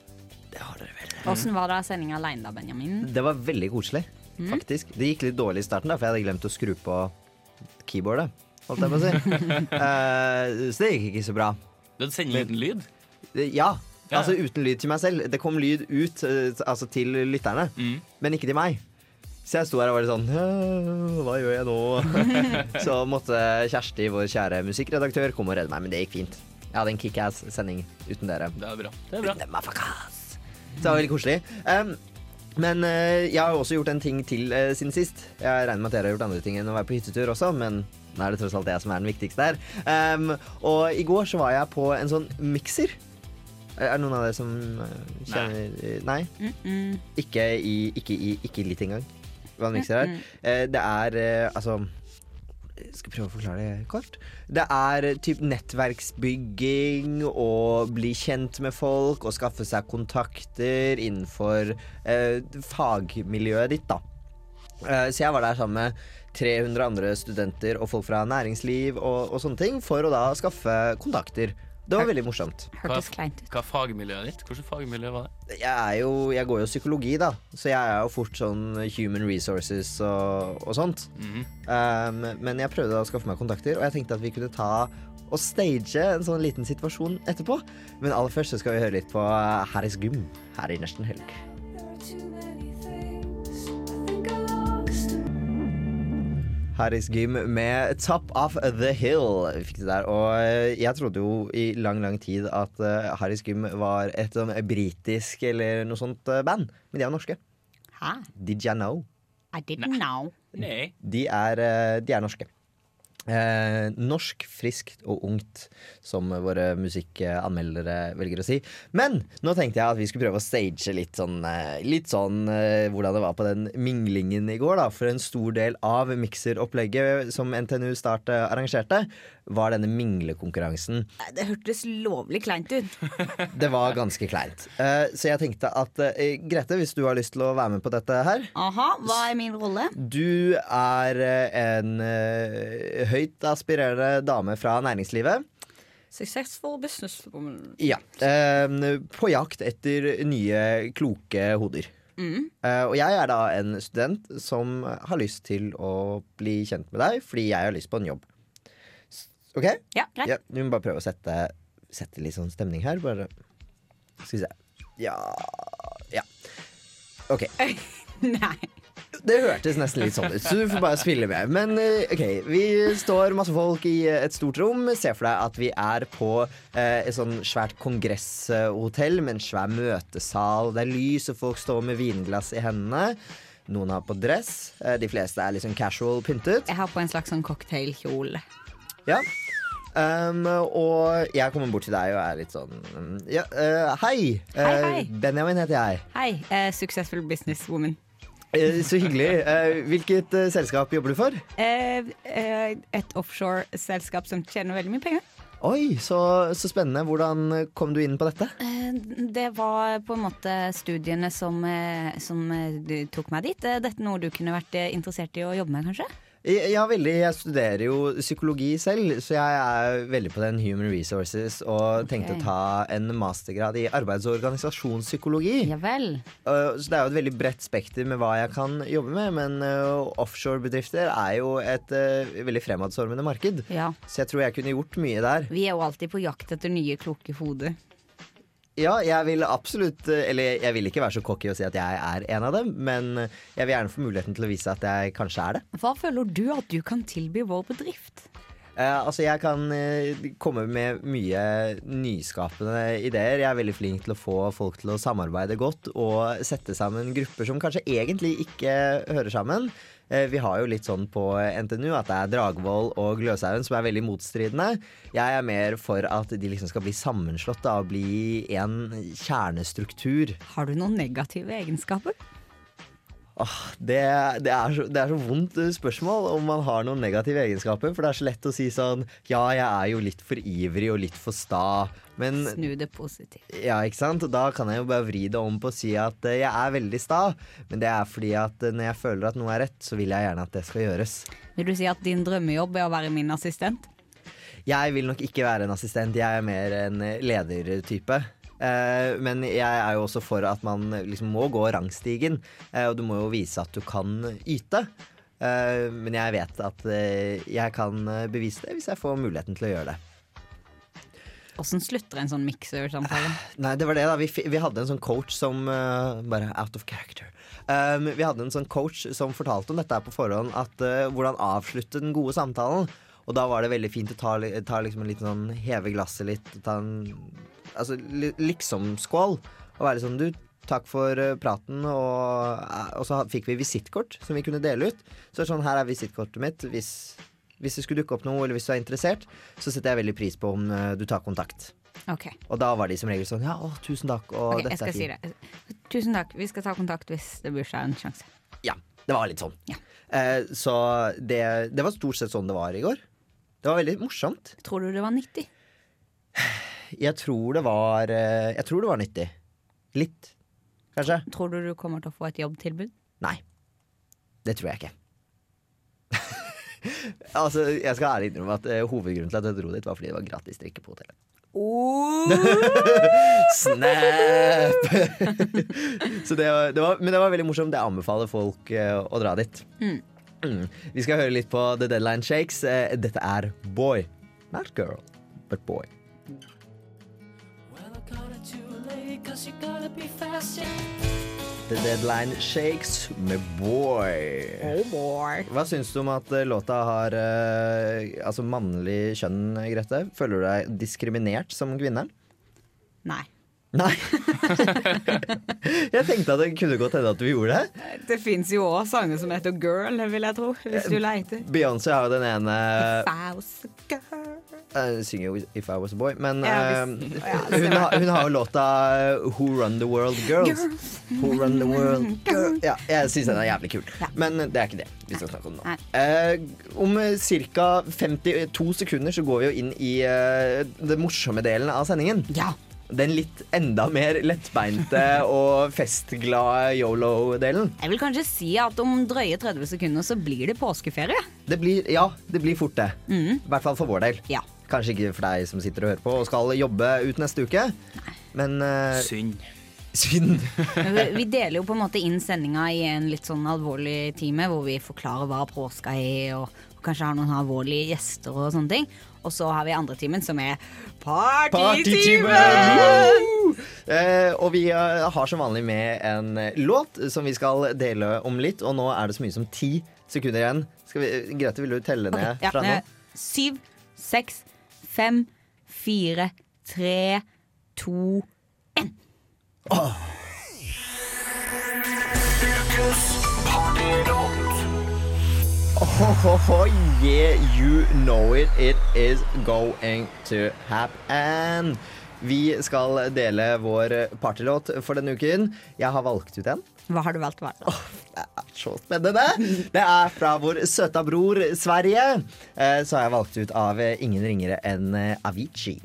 [SPEAKER 3] Hvordan var det sendinga aleine da, Benjamin?
[SPEAKER 1] Det var veldig koselig,
[SPEAKER 2] Mm.
[SPEAKER 1] faktisk. Det gikk litt dårlig i starten, da, for jeg hadde glemt å skru på keyboardet. Holdt jeg på å si. Eh, så det gikk ikke så bra.
[SPEAKER 2] Du hadde sending uten lyd.
[SPEAKER 1] Eh, Ja.
[SPEAKER 2] Ja.
[SPEAKER 1] Altså uten lyd til meg selv. Det kom lyd ut, eh, altså til lytterne,
[SPEAKER 2] Mm.
[SPEAKER 1] men ikke til meg. Så jeg sto her og var litt sånn «Øh, Hva gjør jeg nå? så måtte Kjersti, vår kjære musikkredaktør, komme og redde meg, men det gikk fint. Jeg hadde en kickass-sending uten dere.
[SPEAKER 2] Det er bra. Det er bra.
[SPEAKER 1] The motherfuckers. Så det var veldig koselig. Um, men eh, jeg har jo også gjort en ting til eh, siden sist. Jeg regner med at dere har gjort andre ting enn å være på hyttetur også, men nå er det tross alt jeg som er den viktigste her. Um, og i går så var jeg på en sånn mikser. Er det noen av dere som eh, kjenner Nei?
[SPEAKER 3] Mm -mm.
[SPEAKER 1] Ikke, i, ikke, i, ikke litt engang hva en mikser er. Eh, det er eh, altså skal prøve å forklare det kort. Det er eh, typ nettverksbygging og bli kjent med folk og skaffe seg kontakter innenfor eh, fagmiljøet ditt, da. Eh, så jeg var der sammen med 300 andre studenter og folk fra næringsliv og, og sånne ting for å da skaffe kontakter. Det var veldig morsomt.
[SPEAKER 3] Hørtes kleint ut.
[SPEAKER 2] Hva er fagmiljøet ditt? Hvilket fagmiljø var det?
[SPEAKER 1] jeg, er jo, jeg går jo psykologi, da, så jeg er jo fort sånn human resources og, og sånt.
[SPEAKER 2] Mhm.
[SPEAKER 1] Um, men jeg prøvde da å skaffe meg kontakter, og jeg tenkte at vi kunne ta og stage en sånn liten situasjon etterpå. Men aller først så skal vi høre litt på Harris Gym her i Nesten Helg. Harris Gym med Top of the Hill. Vi fikk det der. Og eh, jeg trodde jo i lang, lang tid at eh, Harris Gym var et sånn britisk eller noe sånt eh, band. Men de er norske.
[SPEAKER 3] Hæ?
[SPEAKER 1] Did ya know?
[SPEAKER 3] I didn't know.
[SPEAKER 2] Nei.
[SPEAKER 1] De er, eh, de er norske. Eh, norsk, friskt og ungt, som våre musikkanmeldere velger å si. Men nå tenkte jeg at vi skulle prøve å stage litt sånn, eh, litt sånn eh, hvordan det var på den minglingen i går. Da. For en stor del av mikseropplegget som NTNU Start eh, arrangerte, var denne minglekonkurransen.
[SPEAKER 3] Det hørtes lovlig kleint ut.
[SPEAKER 1] Det var ganske kleint. Eh, så jeg tenkte at eh, Grete, hvis du har lyst til å være med på dette her,
[SPEAKER 3] Aha, hva er min rolle?
[SPEAKER 1] Du er eh, en eh, høyt aspirerende dame fra næringslivet.
[SPEAKER 3] Successful business woman.
[SPEAKER 1] Ja. Eh, på jakt etter nye, kloke hoder.
[SPEAKER 3] Mm.
[SPEAKER 1] Eh, og jeg er da en student som har lyst til å bli kjent med deg, fordi jeg har lyst på en jobb. S- OK?
[SPEAKER 3] Ja, greit.
[SPEAKER 1] Ja, vi må bare prøve å sette, sette litt sånn stemning her. Bare Skal vi se. Ja Ja. OK.
[SPEAKER 3] Nei.
[SPEAKER 1] Det hørtes nesten litt sånn ut, så du får bare spille med. Men eh, ok, vi står masse folk i eh, et stort rom. Se for deg at vi er på eh, et sånn svært kongresshotell med en svær møtesal. Det er lys, og folk står med vinglass i hendene. Noen har på dress. eh, De fleste er liksom casual pyntet.
[SPEAKER 3] Jeg har på en slags sånn cocktailkjole.
[SPEAKER 1] Ja. Um, og jeg kommer bort til deg og er litt sånn mm, ja, eh, Hei!
[SPEAKER 3] Hei,
[SPEAKER 1] Eh,
[SPEAKER 3] hei.
[SPEAKER 1] Benjamin heter jeg.
[SPEAKER 3] Hei, eh, successful business woman.
[SPEAKER 1] Eh, så hyggelig. Eh, hvilket eh, selskap jobber du for?
[SPEAKER 3] Eh, eh, et offshore-selskap som tjener veldig mye penger.
[SPEAKER 1] Oi, så, så spennende. Hvordan kom du inn på dette?
[SPEAKER 3] Eh, Det var på en måte studiene som, eh, som eh, du tok meg dit. Er dette noe du kunne vært eh, interessert i å jobbe med, kanskje?
[SPEAKER 1] Jeg- Ja, veldig. Jeg studerer jo psykologi selv, så jeg er veldig på den human resources og tenkte å ta en mastergrad i arbeids- og organisasjonspsykologi.
[SPEAKER 3] Ja vel.
[SPEAKER 1] Uh, Så det er jo et veldig bredt spekter med hva jeg kan jobbe med, men uh, offshorebedrifter er jo et uh, veldig fremadstormende marked.
[SPEAKER 3] Ja.
[SPEAKER 1] Så jeg tror jeg kunne gjort mye der.
[SPEAKER 3] Vi er jo alltid på jakt etter nye, kloke hoder.
[SPEAKER 1] Ja, jeg vil absolutt uh, Eller jeg vil ikke være så cocky og si at jeg er en av dem, men uh, jeg vil gjerne få muligheten til å vise at jeg kanskje er det.
[SPEAKER 3] Hva føler du at du kan tilby vår bedrift?
[SPEAKER 1] Eh, altså Jeg kan eh, komme med mye nyskapende ideer. Jeg er veldig flink til å få folk til å samarbeide godt og sette sammen grupper som kanskje egentlig ikke hører sammen. Eh, vi har jo litt sånn på NTNU at det er Dragvoll og Gløshaugen som er veldig motstridende. Jeg er mer for at de liksom skal bli sammenslått da, og bli en kjernestruktur.
[SPEAKER 3] Har du noen negative egenskaper?
[SPEAKER 1] Åh, Ah, det, det, er så, det er så vondt eh, spørsmål om man har noen negative egenskaper. For det er så lett å si sånn Ja, jeg er jo litt for ivrig og litt for sta. Men
[SPEAKER 3] Snu det positivt.
[SPEAKER 1] ja, ikke sant? Og Da kan jeg jo bare vri det om på å si at eh, jeg er veldig sta. Men det er fordi at eh, når jeg føler at noe er rett, så vil jeg gjerne at det skal gjøres.
[SPEAKER 3] Vil du si at din drømmejobb er å være min assistent?
[SPEAKER 1] Jeg vil nok ikke være en assistent, jeg er mer en ledertype. Eh, men jeg er jo også for at man liksom må gå rangstigen, eh, og du må jo vise at du kan yte. Eh, men jeg vet at eh, jeg kan eh, bevise det hvis jeg får muligheten til å gjøre det.
[SPEAKER 3] Åssen slutter en sånn mixer-samtale?
[SPEAKER 1] Nei, det var det da Vi, fi- vi hadde en sånn coach som eh, Bare out of character um, Vi hadde en sånn coach som fortalte om dette her på forhånd At eh, hvordan avslutte den gode samtalen Og da var det veldig fint å ta, li- ta liksom en liten sånn Heve glasset litt og Ta en altså, li, liksom skål Og være litt sånn Du, takk for eh, praten og, eh, og så had- fikk vi visittkort som vi kunne dele ut Så sånn, her er visittkortet mitt Hvis, hvis det skulle dukke opp noe Eller hvis du er interessert Så setter jeg veldig pris på om eh, du tar kontakt
[SPEAKER 3] Ok,
[SPEAKER 1] og da var de som regel sånn Ja, å, tusen takk, og
[SPEAKER 3] ok, jeg
[SPEAKER 1] dette
[SPEAKER 3] skal
[SPEAKER 1] er
[SPEAKER 3] si
[SPEAKER 1] fint.
[SPEAKER 3] det. Tusen takk, vi skal ta kontakt hvis det blir seg en sjanse.
[SPEAKER 1] Ja, det var litt sånn.
[SPEAKER 3] Ja.
[SPEAKER 1] Eh, så det, det var stort sett sånn det var i går. Det var veldig morsomt.
[SPEAKER 3] Tror du det var 90?
[SPEAKER 1] Jeg tror det var eh, Jeg tror det var nyttig. Litt, kanskje.
[SPEAKER 3] Tror du du kommer til å få et jobbtilbud?
[SPEAKER 1] Nei. Det tror jeg ikke. altså, jeg skal ærlig innrømme at eh, hovedgrunnen til at jeg dro dit, var fordi det var gratis drikke på hotellet. Oh! Snap! Så det var, det var, men det var veldig morsomt. Jeg anbefaler folk eh, å dra dit. Mm. Vi skal høre litt på The Deadline Shakes. Eh, dette er Boy. Not girl, but boy. The Deadline Shakes med Boy.
[SPEAKER 3] Oh boy.
[SPEAKER 1] Hva syns du om at eh, låta har eh, altså mannlig kjønn, Grete? Føler du deg diskriminert som kvinne?
[SPEAKER 3] Nei.
[SPEAKER 1] Nei. jeg tenkte at det kunne godt hende at du gjorde det.
[SPEAKER 3] Det fins jo òg sanger som heter Girl, vil jeg tro, hvis du leiter.
[SPEAKER 1] Beyoncé har jo den ene
[SPEAKER 3] eh, Thousand girl.
[SPEAKER 1] eh, Synger jo If I Was A Boy, men
[SPEAKER 3] Ja,
[SPEAKER 1] eh,
[SPEAKER 3] hvis- ja, så-
[SPEAKER 1] hun, har, hun har jo låta eh, Who Run The World Girls. Who Run The World Girls. Ja, jeg syns den er jævlig kul,
[SPEAKER 3] Ja.
[SPEAKER 1] men det er ikke det vi skal snakke om nå.
[SPEAKER 3] Nei.
[SPEAKER 1] Eh, om ca. 52 sekunder så går vi jo inn i eh, den morsomme delen av sendingen.
[SPEAKER 3] Ja.
[SPEAKER 1] Den litt enda mer lettbeinte og festglade yolo-delen.
[SPEAKER 3] Jeg vil kanskje si at om drøye 30 sekunder så blir det påskeferie.
[SPEAKER 1] Det blir, ja, det blir fort det. I hvert fall for vår del.
[SPEAKER 3] Ja.
[SPEAKER 1] Kanskje ikke for deg som sitter og hører på og skal jobbe ut neste uke. Men eh,
[SPEAKER 2] Synd.
[SPEAKER 1] synd.
[SPEAKER 3] Men Vi vi deler jo på en måte inn sendinga i en litt sånn alvorlig time, hvor vi forklarer hva påska er, og, og kanskje har noen alvorlige gjester og sånne ting. Og så har vi andre timen, som er partytimen!
[SPEAKER 1] Woo! Eh, og vi eh, har som vanlig med en eh, låt som vi skal dele om litt. Og nå er det så mye som ti sekunder igjen. Skal vi, Grete, vil du telle ned
[SPEAKER 3] Ok, ja,
[SPEAKER 1] fra nå?
[SPEAKER 3] eh, Syv, seks, fem, fire, tre, to
[SPEAKER 4] Ukens partyråd.
[SPEAKER 1] Oh, yeah, you know it. It is going to happen. Vi skal dele vår partylåt for denne uken. Jeg har valgt ut en.
[SPEAKER 3] Hva har du valgt? Hva?
[SPEAKER 1] Det er så spennende! Det er fra vår søta bror Sverige. Eh, Så har jeg valgt ut av eh, ingen ringere enn eh, Avicii. Jeg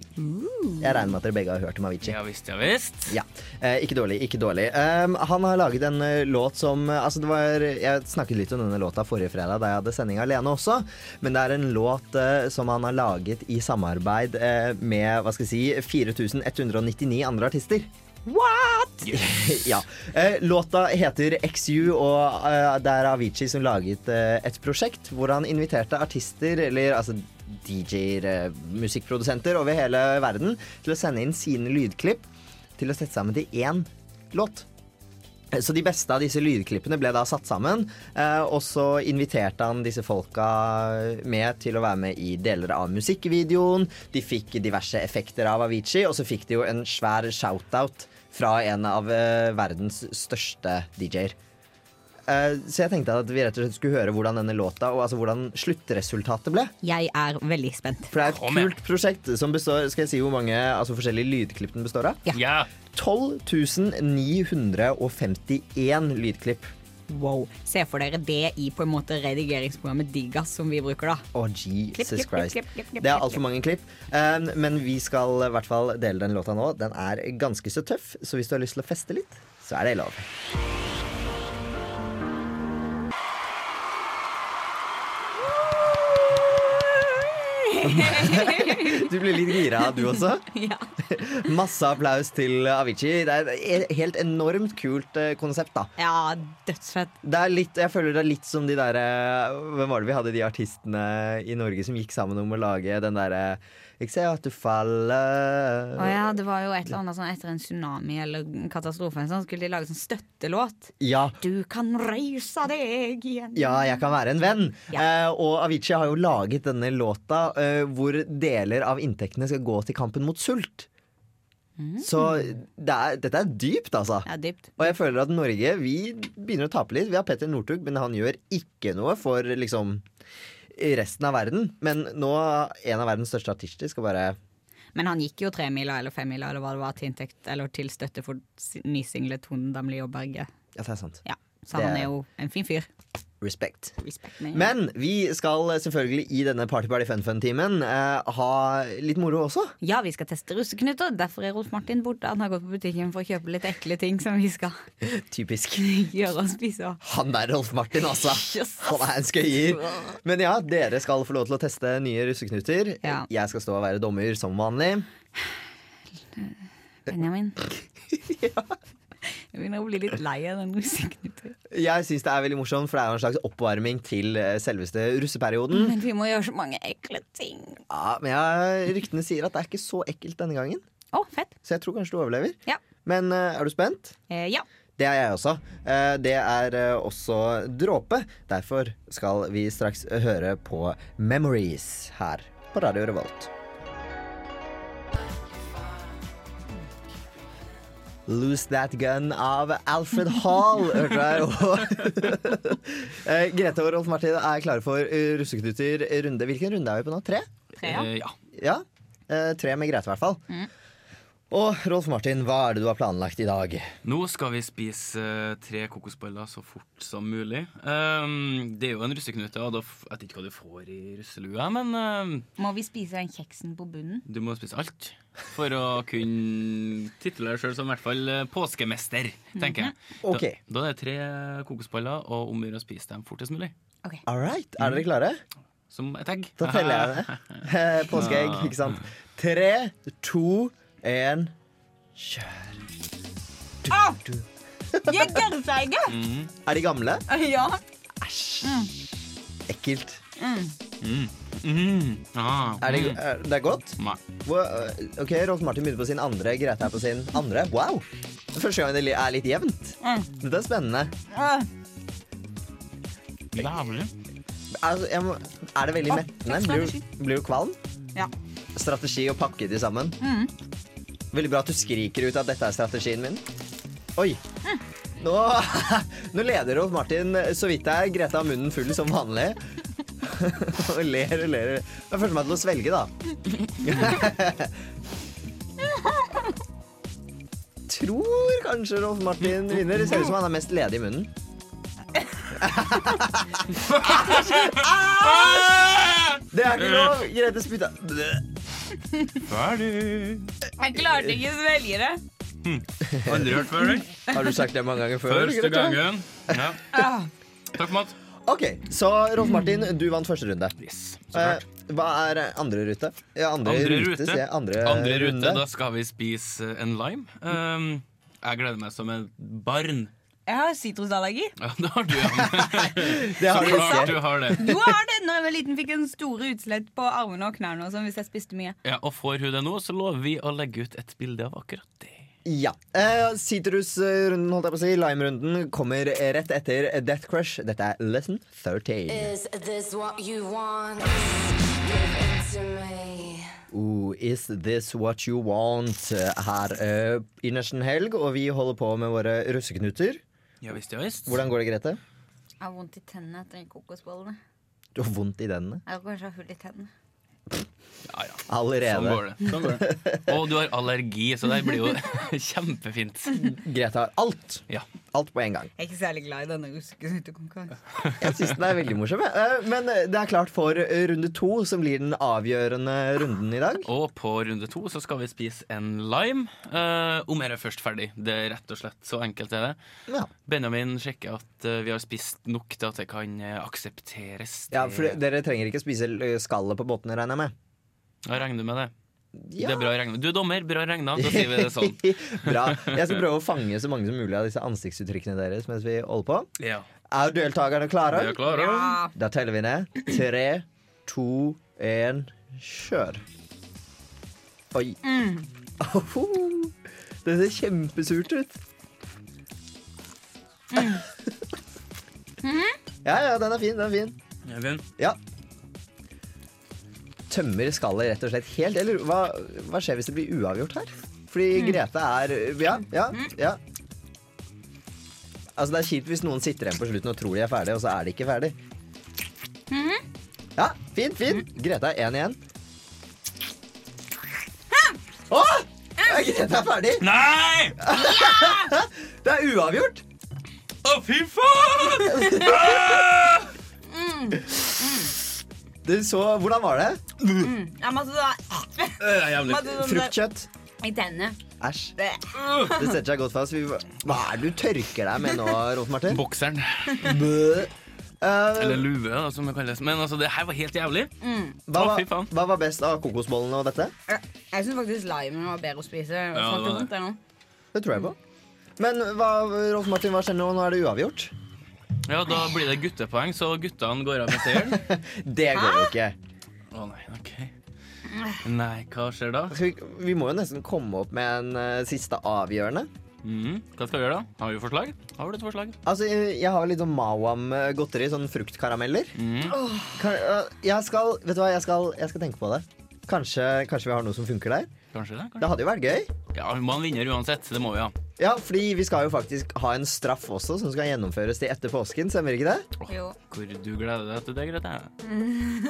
[SPEAKER 1] regner med at dere begge har hørt om Avicii.
[SPEAKER 2] Ja visst, ja visst.
[SPEAKER 1] Ja. Eh, ikke dårlig, ikke dårlig. Um, han har laget en eh, låt som eh, Altså, det var Jeg snakket litt om denne låta forrige fredag da jeg hadde sending alene også, men det er en låt eh, som han har laget i samarbeid eh, med, hva skal jeg si, 4199 andre artister. What?! ja. Eh, låta heter XU, og eh, det er Avicii som laget eh, et prosjekt hvor han inviterte artister, eller altså DJ-er, eh, musikkprodusenter over hele verden, til å sende inn sine lydklipp til å sette sammen til én låt. Eh, Så de beste av disse lydklippene ble da satt sammen, eh, og så inviterte han disse folka eh, med til å være med i deler av musikkvideoen. De fikk diverse effekter av Avicii, og så fikk de jo en svær shout-out fra en av eh, verdens største DJ-er. Eh, Så jeg tenkte at vi rett og slett skulle høre hvordan denne låta, og altså hvordan sluttresultatet ble.
[SPEAKER 3] Jeg er veldig spent.
[SPEAKER 1] For det er et
[SPEAKER 2] Kom igjen.
[SPEAKER 1] kult prosjekt som består Skal jeg si hvor mange altså forskjellige lydklipp den består av?
[SPEAKER 2] Ja.
[SPEAKER 1] 12.951 lydklipp.
[SPEAKER 3] Wow. Se for dere det i på en måte redigeringsprogrammet Digas som vi bruker, da.
[SPEAKER 1] Å, Jesus
[SPEAKER 3] klipp,
[SPEAKER 1] Christ.
[SPEAKER 3] klipp, klipp,
[SPEAKER 1] Det
[SPEAKER 3] klipp,
[SPEAKER 1] er
[SPEAKER 3] klipp,
[SPEAKER 1] altfor mange klipp. Um, men vi skal i hvert fall dele den låta nå. Den er ganske så tøff, så hvis du har lyst til å feste litt, så er det lov. Du ble litt gira, du også.
[SPEAKER 3] Ja.
[SPEAKER 1] Masse applaus til Avicii. Det er et helt enormt kult eh, konsept, da.
[SPEAKER 3] ja, dødsfett.
[SPEAKER 1] Det er litt, jeg føler det er litt som de der eh, Hvem var det vi hadde de artistene i Norge som gikk sammen om å lage den derre Jeg ser at du faller
[SPEAKER 3] Å ja, det var jo et eller annet sånn etter en tsunami eller en katastrofe sånn, skulle de lage sånn støttelåt.
[SPEAKER 1] ja.
[SPEAKER 3] Du kan reise deg igjen.
[SPEAKER 1] Ja, jeg kan være en venn.
[SPEAKER 3] Ja.
[SPEAKER 1] Eh, og Avicii har jo laget denne låta eh, hvor deler av inntektene skal gå til kampen mot sult. Så det er, dette er dypt, altså.
[SPEAKER 3] Mm. Ja, dypt.
[SPEAKER 1] Og jeg føler at Norge vi begynner å tape litt. Vi har Petter Northug, men han gjør ikke noe for liksom resten av verden. Men nå en av verdens største artister skal bare
[SPEAKER 3] Men han gikk jo tremila eller femmila eller hva det var til inntekt eller til støtte for s- nysinglet Tone Damli og Berge.
[SPEAKER 1] Ja, det er sant.
[SPEAKER 3] Ja, så
[SPEAKER 1] Det-
[SPEAKER 3] han er jo en fin fyr.
[SPEAKER 1] Respect.
[SPEAKER 3] Respekt med.
[SPEAKER 1] Men vi skal selvfølgelig i denne Party Party Fun Fun-timen eh, ha litt moro også.
[SPEAKER 3] Ja, vi skal teste russeknuter. Derfor er Rolf Martin borte. Han har gått på butikken for å kjøpe litt ekle ting som vi skal
[SPEAKER 1] Typisk.
[SPEAKER 3] gjøre og spise. og-
[SPEAKER 1] Han der Rolf Martin, altså.
[SPEAKER 3] Jesus.
[SPEAKER 1] Han er en skøyer. Men ja, dere skal få lov til å teste nye russeknuter.
[SPEAKER 3] Ja.
[SPEAKER 1] Jeg skal stå og være dommer som vanlig.
[SPEAKER 3] Benjamin. Jeg begynner å bli litt lei av den russeknuten.
[SPEAKER 1] Jeg syns det er veldig morsomt, for det er jo en slags oppvarming til eh, selveste russeperioden.
[SPEAKER 3] Men vi må gjøre så mange ekle ting.
[SPEAKER 1] Ja, men jeg, ryktene sier at det er ikke så ekkelt denne gangen,
[SPEAKER 3] Å, fett.
[SPEAKER 1] så jeg tror kanskje du overlever.
[SPEAKER 3] Ja.
[SPEAKER 1] Men eh, er du spent?
[SPEAKER 3] Eh, ja.
[SPEAKER 1] Det er jeg også. Eh, Det er eh, også dråpe. Derfor skal vi straks høre på Memories her på Radio Revolt. Lose That Gun av Alfred Hall, hørte jeg. Og- Eh, Grete og Rolf Martin er klare for eh, russeknuter runde. Hvilken runde er vi på nå? Tre?
[SPEAKER 3] Tre, ja.
[SPEAKER 2] Eh, ja.
[SPEAKER 1] Ja. Eh, Tre med Grete, i hvert fall. Og Rolf Martin, hva er det du har planlagt i dag?
[SPEAKER 2] Nå skal vi spise eh, tre kokosboller så fort som mulig. Ehm, det er jo en russeknute, og da f jeg vet ikke hva du får i russelua, men ehm,
[SPEAKER 3] Må vi spise den kjeksen på bunnen?
[SPEAKER 2] du må spise alt for å kunne title deg sjøl som i hvert fall eh, påskemester, tenker jeg.
[SPEAKER 1] Mhm. Ok.
[SPEAKER 2] Da, da er det tre kokosboller, og om å gjøre å spise dem fortest mulig.
[SPEAKER 3] Ok.
[SPEAKER 1] All right, Er dere klare?
[SPEAKER 2] Som et egg.
[SPEAKER 1] Da teller jeg det. Eh, Påskeegg, ikke sant. Tre, to, én, kjør. Du, du.
[SPEAKER 3] Jeggersegget!
[SPEAKER 1] Er de gamle?
[SPEAKER 3] Eh, Ja.
[SPEAKER 1] Ekkelt.
[SPEAKER 2] Mm. Ah,
[SPEAKER 1] Er de,
[SPEAKER 2] mm.
[SPEAKER 1] er, det er godt?
[SPEAKER 2] Nei.
[SPEAKER 1] Hvor- eh, Ok, Rolf Martin begynner på sin andre, Grete er på sin andre. Wow! Det er Første gang det li- er litt jevnt.
[SPEAKER 3] Mm.
[SPEAKER 1] Dette er spennende.
[SPEAKER 3] Ah,
[SPEAKER 2] Jævlig.
[SPEAKER 1] Altså, jeg må, er det veldig
[SPEAKER 3] Ah,
[SPEAKER 1] mettende? Blir, du- blir du kvalm?
[SPEAKER 3] Ja.
[SPEAKER 1] Strategi og pakke til sammen.
[SPEAKER 3] Mm.
[SPEAKER 1] Veldig bra at du skriker ut at dette er strategien min. Oi. Nå, nå leder Rolf Martin eh, så vidt det er. Grete har munnen full som vanlig. Og ler og ler. Jeg følte meg til å svelge, da. Tror kanskje Rolf Martin vinner. Det ser ut som han er mest ledig i munnen.
[SPEAKER 2] Ah!
[SPEAKER 1] Det er ikke lov!
[SPEAKER 2] Eh.
[SPEAKER 1] Grete spytta.
[SPEAKER 2] Ferdig.
[SPEAKER 3] Jeg klarte ikke å svelge det.
[SPEAKER 2] Aldri hørt før, du?
[SPEAKER 1] Har du sagt det mange ganger før? Ah.
[SPEAKER 2] Første
[SPEAKER 1] Grete?
[SPEAKER 2] gangen. Ja. Takk for mat.
[SPEAKER 1] Ok, Så Rolf Martin, du vant første runde.
[SPEAKER 2] Yes, så
[SPEAKER 1] Eh,
[SPEAKER 2] klart.
[SPEAKER 1] hva er andre rute? Ja, andre,
[SPEAKER 2] Andre
[SPEAKER 1] rute,
[SPEAKER 2] rute.
[SPEAKER 1] sier jeg. Andre,
[SPEAKER 2] Andre rute,
[SPEAKER 1] runde.
[SPEAKER 2] da skal vi spise eh, en lime. Um, jeg gleder meg som et barn.
[SPEAKER 3] Jeg har sitrusallergi.
[SPEAKER 2] Ja, det har du, ja.
[SPEAKER 1] Det har du
[SPEAKER 2] Klart
[SPEAKER 1] ikke.
[SPEAKER 2] du har det.
[SPEAKER 3] Jo, jeg har det. Når jeg var liten, fikk jeg en store utslett på armene og knærne og sånn, hvis jeg spiste mye.
[SPEAKER 2] Ja, og får hun det nå, så lover vi å legge ut et bilde av akkurat det.
[SPEAKER 1] Ja. Eh, Sitrusrunden, holdt jeg på å si. Lime-runden kommer rett etter Death Crush. Dette er Lesson 13.
[SPEAKER 6] Is this what you want? Give it to me.
[SPEAKER 1] Ooh, is this what you want? Her eh, i nesten helg, og vi holder på med våre russeknuter.
[SPEAKER 2] Ja visst, ja visst.
[SPEAKER 1] Hvordan går det, Grete?
[SPEAKER 3] Jeg har vondt i tennene etter de kokosbollene.
[SPEAKER 1] Du har vondt i denne.
[SPEAKER 3] Jeg har kanskje hull i tennene.
[SPEAKER 2] Ja, ja. Sånn
[SPEAKER 1] allerede.
[SPEAKER 2] går det. Sånn går det. Og du har allergi, så det blir jo kjempefint.
[SPEAKER 1] Grete har alt.
[SPEAKER 2] Ja.
[SPEAKER 1] Alt på en gang.
[SPEAKER 3] Jeg er ikke særlig glad i denne ruskesnyttekonkurransen.
[SPEAKER 1] Jeg syns den er veldig morsom. jeg. Eh, Men det er klart for runde to, som blir den avgjørende runden i dag.
[SPEAKER 2] Og på runde to så skal vi spise en lime. Eh, om jeg er først ferdig. Det er rett og slett så enkelt er det.
[SPEAKER 1] Ja,
[SPEAKER 2] Benjamin sjekker at eh, vi har spist nok til at det kan eh, aksepteres.
[SPEAKER 1] ja for dere trenger ikke spise eh, skallet på båtene, regner jeg med.
[SPEAKER 2] Jeg regner med det.
[SPEAKER 1] Ja.
[SPEAKER 2] Det er bra regna. Du er dommer, bra regna. Da sier vi det sånn.
[SPEAKER 1] Bra. Jeg skal prøve å fange så mange som mulig av disse ansiktsuttrykkene deres mens vi holder på.
[SPEAKER 2] Ja.
[SPEAKER 1] Er deltakerne klare?
[SPEAKER 2] Vi er klare.
[SPEAKER 3] Ja.
[SPEAKER 1] Da teller vi ned. Tre, to, én, kjør. Oi. Oho. Det ser kjempesurt ut. Ja, ja, den er fin. Den er fin.
[SPEAKER 2] Ja, Bjørn.
[SPEAKER 1] Ja. Tømmer skallet rett og slett helt, eller hva, hva skjer hvis det blir uavgjort her? Fordi Grete er Ja, ja, ja. Altså Det er kjipt hvis noen sitter igjen på slutten og tror de er ferdig, og så er de ikke ferdig. Ja, fint, fint. Grete er én igjen. Å! Ja, Grete er ferdig!
[SPEAKER 2] Nei!
[SPEAKER 1] Det er uavgjort!
[SPEAKER 2] Å, fy faen!
[SPEAKER 1] Du så, hvordan var det?
[SPEAKER 3] Jeg måtte da
[SPEAKER 2] Det er jævlig.
[SPEAKER 3] måtte sånn der-
[SPEAKER 1] Fruktkjøtt.
[SPEAKER 3] I denne.
[SPEAKER 1] Æsj.
[SPEAKER 3] Det-
[SPEAKER 1] Det setter seg godt fast. Vi, hva er det du tørker deg med nå, Rolf Martin?
[SPEAKER 2] Bokseren.
[SPEAKER 1] Bø.
[SPEAKER 2] Eller
[SPEAKER 1] Eh,
[SPEAKER 2] lue, da, som det kalles. Men altså, det her var helt jævlig.
[SPEAKER 3] Mm.
[SPEAKER 1] hva,
[SPEAKER 2] Å,
[SPEAKER 1] var-
[SPEAKER 2] fy faen.
[SPEAKER 1] hva var best av kokosbollene og dette?
[SPEAKER 3] Jeg syns faktisk limen var bedre å spise.
[SPEAKER 2] Ja, det var det.
[SPEAKER 3] Smakte vondt, den også.
[SPEAKER 1] Det tror jeg på. Men hva, Rolf Martin, hva skjer nå? Nå er det uavgjort.
[SPEAKER 2] Ja, da blir det guttepoeng, så guttene går av med seieren.
[SPEAKER 1] Det går jo ikke.
[SPEAKER 2] Å nei, ok. Nei, hva skjer da?
[SPEAKER 1] Skal Altså, vi, vi må jo nesten komme opp med en eh, siste avgjørende.
[SPEAKER 2] Mm, hva skal vi gjøre da? Har vi forslag? Har du et forslag?
[SPEAKER 1] Altså, jeg, jeg har litt sånn Mawam-godteri, sånn fruktkarameller.
[SPEAKER 2] Mm.
[SPEAKER 1] Kan, eh, jeg skal, vet du hva, jeg skal, jeg skal tenke på det. Kanskje, kanskje vi har noe som funker der?
[SPEAKER 2] Kanskje det?
[SPEAKER 1] Det
[SPEAKER 2] Kanskje?
[SPEAKER 1] hadde jo vært gøy.
[SPEAKER 2] Ja, vi må ha en vinner uansett. Det må vi ha.
[SPEAKER 1] Ja, fordi vi skal jo faktisk ha en straff også, som skal gjennomføres til etter påsken, stemmer ikke det?
[SPEAKER 3] Jo.
[SPEAKER 2] Hvor du gleder deg til det, Grete?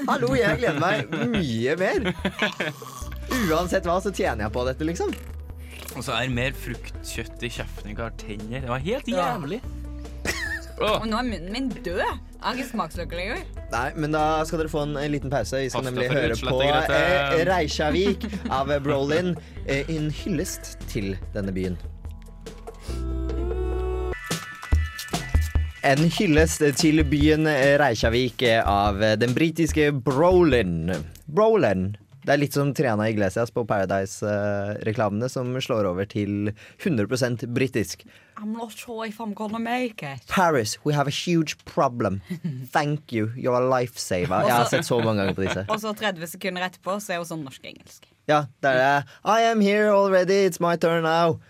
[SPEAKER 1] Hallo, jeg gleder meg mye mer. Uansett hva, så tjener jeg på dette, liksom.
[SPEAKER 2] Og så er mer fruktkjøtt i kjeften enn hva har tenner. Det var helt jævlig. Å,
[SPEAKER 3] Og nå er munnen min død. Jeg har ikke smaksløker lenger.
[SPEAKER 1] Nei, men da skal dere få en, en liten pause. Vi skal
[SPEAKER 2] Pass deg
[SPEAKER 1] nemlig
[SPEAKER 2] for
[SPEAKER 1] høre på
[SPEAKER 2] utslettet,
[SPEAKER 1] eh,
[SPEAKER 2] Grete.
[SPEAKER 1] Reykjavik av Brolin. Eh, en hyllest til denne byen. En hyllest til byen eh, Reykjavik av den britiske Brolin. Brolin. Det er litt som Triana Iglesias på Paradise-reklamene, som slår over til 100 britisk.
[SPEAKER 3] I'm not sure if I'm gonna make it.
[SPEAKER 1] Paris, we have a huge problem. Thank you, you're a lifesaver. Jeg har sett så mange ganger på disse.
[SPEAKER 3] Og så 30 sekunder etterpå så er hun sånn norsk-engelsk.
[SPEAKER 1] Ja, det er det. I am here already, it's my turn now.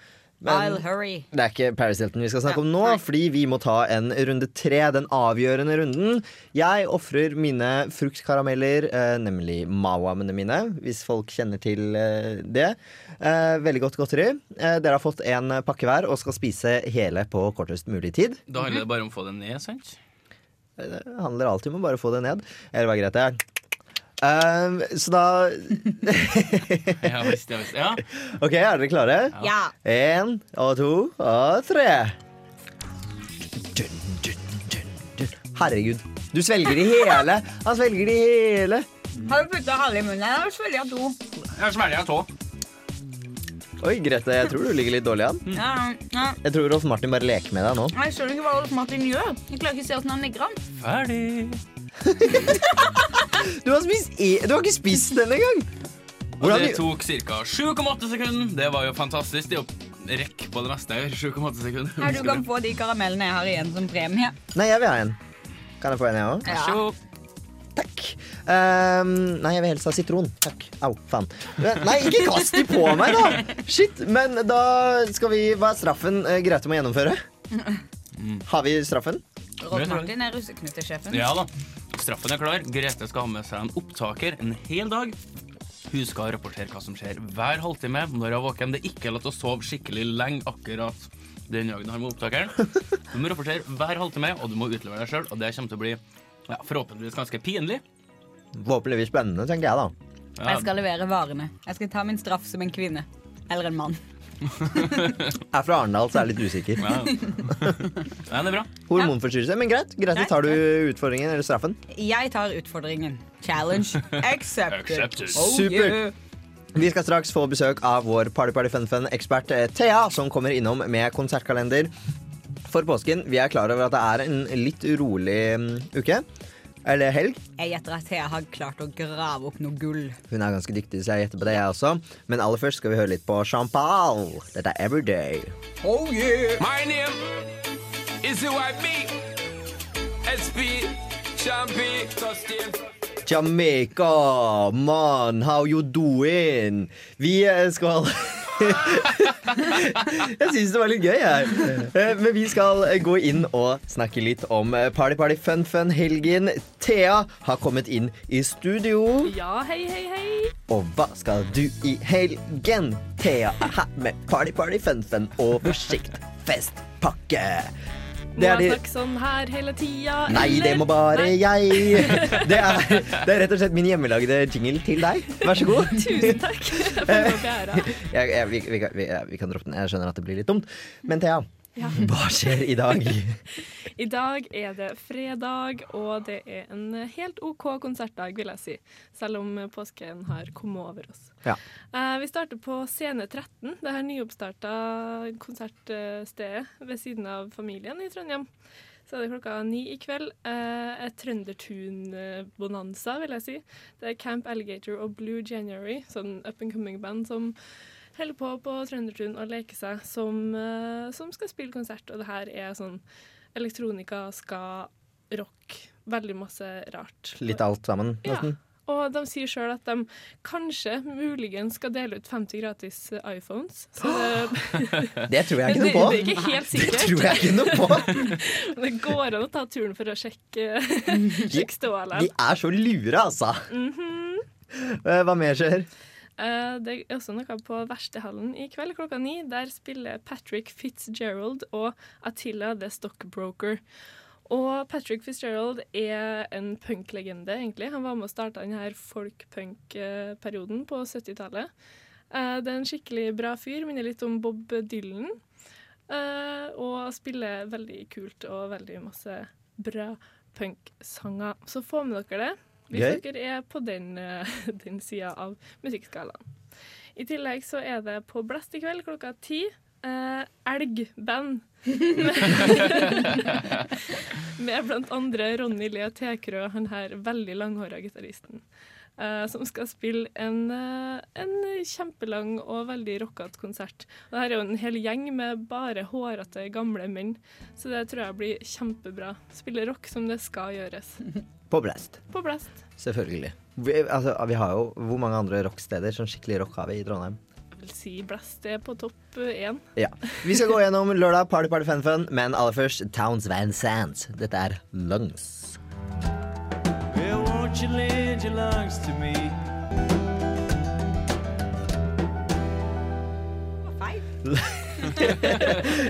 [SPEAKER 1] Men
[SPEAKER 3] I'll hurry.
[SPEAKER 1] det er ikke Paris Hilton vi skal snakke om nå,
[SPEAKER 3] Ja, nei.
[SPEAKER 1] fordi vi må ta en runde tre. Den avgjørende runden. Jeg ofrer mine fruktkarameller, eh, nemlig mawamene mine, hvis folk kjenner til eh, det. Eh, veldig godt godteri. Eh, dere har fått en pakke hver og skal spise hele på kortest mulig tid.
[SPEAKER 2] Da handler det bare om å få det ned, sant?
[SPEAKER 1] Det handler alltid om å bare få det ned. Eller hva, Grete? Um, så da
[SPEAKER 2] Ja, visst, ja, visst. Ja.
[SPEAKER 1] OK, er dere klare?
[SPEAKER 3] Ja.
[SPEAKER 1] Én og to og tre. Dun, dun, dun, dun. Herregud. Du svelger i hele. Han svelger i hele.
[SPEAKER 3] Har du putta halve i munnen? Jeg svelger av to.
[SPEAKER 2] Jeg smeller en tå.
[SPEAKER 1] Oi, Grete, jeg tror du ligger litt dårlig an.
[SPEAKER 3] Ja, ja.
[SPEAKER 1] Jeg tror Rolf Martin bare leker med deg nå.
[SPEAKER 3] Jeg skjønner ikke hva Rolf Martin gjør. Jeg klarer ikke å se hvordan han legger an.
[SPEAKER 2] Ferdig.
[SPEAKER 1] Du har, spist i, du har ikke spist den engang!
[SPEAKER 2] Og
[SPEAKER 1] Hvordan
[SPEAKER 2] det
[SPEAKER 1] du-
[SPEAKER 2] tok ca. 7,8 sekunder. Det var jo fantastisk. Det er jo rekk på det meste her. 7,8 sekunder.
[SPEAKER 3] Her, du kan få de karamellene jeg har igjen som premie.
[SPEAKER 1] Nei, jeg vil ha en. Kan jeg få en, jeg òg?
[SPEAKER 3] Ja.
[SPEAKER 2] Sjå.
[SPEAKER 1] Takk. Ehm, nei, jeg vil helst ha sitron. Takk. Au, faen. Men- Nei, ikke kast de på meg, da! Shit. Men da skal vi Hva er straffen eh, Grete må gjennomføre? Har vi straffen?
[SPEAKER 3] Rolf Martin er russeknutesjefen.
[SPEAKER 2] Ja da. Straffen er klar. Grete skal ha med seg en opptaker en hel dag. Hun skal rapportere hva som skjer hver halvtime når hun er våken. Det er ikke lov til å sove skikkelig lenge akkurat den dagen du har med opptakeren. Du må rapportere hver halvtime, og du må utlevere deg sjøl. Og det kommer til å bli ja, forhåpentligvis ganske pinlig.
[SPEAKER 1] Forhåpentligvis spennende, tenker jeg, da.
[SPEAKER 3] Jeg skal levere varene. Jeg skal ta min straff som en kvinne. Eller en mann.
[SPEAKER 1] Er fra Arendal, så er jeg litt usikker.
[SPEAKER 2] Ja. Nei, det er bra.
[SPEAKER 1] Hormonforstyrrelse. Men greit, greit, så tar du utfordringen eller straffen.
[SPEAKER 3] Jeg tar utfordringen. Challenge accepted. Oh,
[SPEAKER 1] Supert.
[SPEAKER 3] yeah.
[SPEAKER 1] Vi skal straks få besøk av vår Party Party Fun Fun-ekspert eh, Thea, som kommer innom med konsertkalender for påsken. Vi er klar over at det er en litt rolig mm, uke. Eller helg.
[SPEAKER 3] Jeg gjetter at Thea har klart å grave opp noe gull.
[SPEAKER 1] Hun er ganske dyktig, så jeg gjetter på det, jeg også. Men aller først skal vi høre litt på Champal. Dette er Everyday.
[SPEAKER 3] Oh yeah!
[SPEAKER 7] My name is who I be. SP, Champi, Justin.
[SPEAKER 1] Jamaica, man, how you doing? Vi eh, skal Jeg syns det var litt gøy, jeg. Eh, Men vi skal eh, gå inn og snakke litt om eh, Party Party Fun Fun-helgen. Thea har kommet inn i studio.
[SPEAKER 5] Ja, hei, hei, hei.
[SPEAKER 1] Og hva skal du i helgen? Thea er her med Party Party Fun Fun oversikt festpakke.
[SPEAKER 5] Må jeg snakke sånn her hele tida?
[SPEAKER 1] Nei, det må bare jeg. Det er, det er rett og slett min hjemmelagde jingle til deg. Vær så god.
[SPEAKER 5] Tusen takk. For å få æra.
[SPEAKER 1] Jeg, jeg, vi, vi, kan- vi, ja, vi kan droppe den. Jeg skjønner at det blir litt dumt. Men Thea,
[SPEAKER 5] Ja.
[SPEAKER 1] hva skjer i dag?
[SPEAKER 5] I dag er det fredag, og det er en helt OK konsertdag, vil jeg si. Selv om påsken har kommet over oss.
[SPEAKER 1] Ja.
[SPEAKER 5] Eh, vi starter på Scene 13, det her nyoppstarta konsertstedet ved siden av familien i Trondheim. Så er det klokka ni i kveld. Eh, et Trøndertun-bonanza, vil jeg si. Det er Camp Alligator og Blue January, sånn up and coming band som holder på på Trøndertun og leker seg, som, eh, som skal spille konsert. Og det her er sånn elektronika, ska, rock, veldig masse rart.
[SPEAKER 1] Litt alt sammen, nesten.
[SPEAKER 5] Ja. Og de sier sjøl at de kanskje, muligens, skal dele ut 50 gratis eh, iPhones. Så det,
[SPEAKER 1] Det tror jeg
[SPEAKER 5] men
[SPEAKER 1] ikke noe
[SPEAKER 5] det, det er
[SPEAKER 1] på.
[SPEAKER 5] ikke helt
[SPEAKER 1] Det
[SPEAKER 5] sikkert.
[SPEAKER 1] tror jeg ikke noe på.
[SPEAKER 5] Det går an å ta turen for å sjekke, eh, sjekke ståa
[SPEAKER 1] De
[SPEAKER 5] der.
[SPEAKER 1] er så lure, altså.
[SPEAKER 5] Mhm.
[SPEAKER 1] Eh, Hva mer skjer?
[SPEAKER 5] Eh, Det er også noe på Verstehallen i kveld klokka ni. Der spiller Patrick Fitzgerald og Attila The Stockbroker. Og Patrick Fitzgerald er en punklegende, egentlig. Han var med og starta denne folk-punk-perioden på 70-tallet. Eh, Det er en skikkelig bra fyr. Minner litt om Bob Dylan. Eh, Og spiller veldig kult og veldig masse bra punksanger. Så få med dere det. Hvis
[SPEAKER 1] Gøy.
[SPEAKER 5] dere er på den, eh, den sida av musikkskalaen. I tillegg så er det på Blast i kveld klokka ti eh, elgband. Med blant andre Ronny Le Tekrø, han her veldig langhåra gitaristen. eh, som skal spille en, eh, en kjempelang og veldig rockete konsert. Og det her er jo en hel gjeng med bare hårete gamle menn, så det tror jeg blir kjempebra. Spille rock som det skal gjøres.
[SPEAKER 1] På Blast.
[SPEAKER 5] På blast.
[SPEAKER 1] Selvfølgelig. Vi, altså, vi har jo Hvor mange andre rocksteder som skikkelig rock har vi i Trondheim?
[SPEAKER 5] Jeg vil si blast er på topp eh, én.
[SPEAKER 1] Ja. Vi skal gå gjennom lørdag Party Party Fun Fun, men aller først Towns Van Sands. Dette er Lungs.
[SPEAKER 7] Well, won't you lend your lungs to me?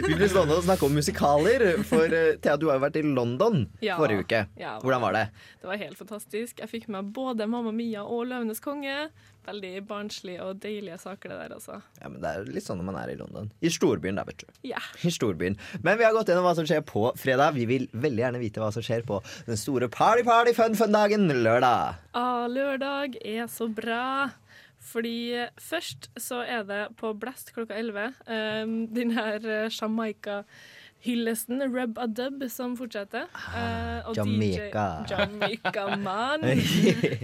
[SPEAKER 1] Vi ble stående og snakke om musikaler, for eh, Thea, du har jo vært i London
[SPEAKER 5] Ja.
[SPEAKER 1] forrige uke.
[SPEAKER 5] Ja.
[SPEAKER 1] Hvordan var det?
[SPEAKER 5] Det var helt fantastisk. Jeg fikk med meg både Mamma Mia og Løvenes konge. Veldig barnslig og deilige saker, det der, altså.
[SPEAKER 1] Ja, men Det er litt sånn når man er i London. I storbyen, da, vet du.
[SPEAKER 5] Ja.
[SPEAKER 1] I storbyen. Men vi har gått gjennom hva som skjer på fredag. Vi vil veldig gjerne vite hva som skjer på den store party-party-fun-fun-dagen lørdag.
[SPEAKER 5] Ah, lørdag er så bra. Fordi først så er det på Blast klokka 11. Um, den her eh, Jamaica-hyllesten, Rub a Dub, som fortsetter. Eh, og
[SPEAKER 1] Jamaica.
[SPEAKER 5] DJ Jamaica Man. Eh,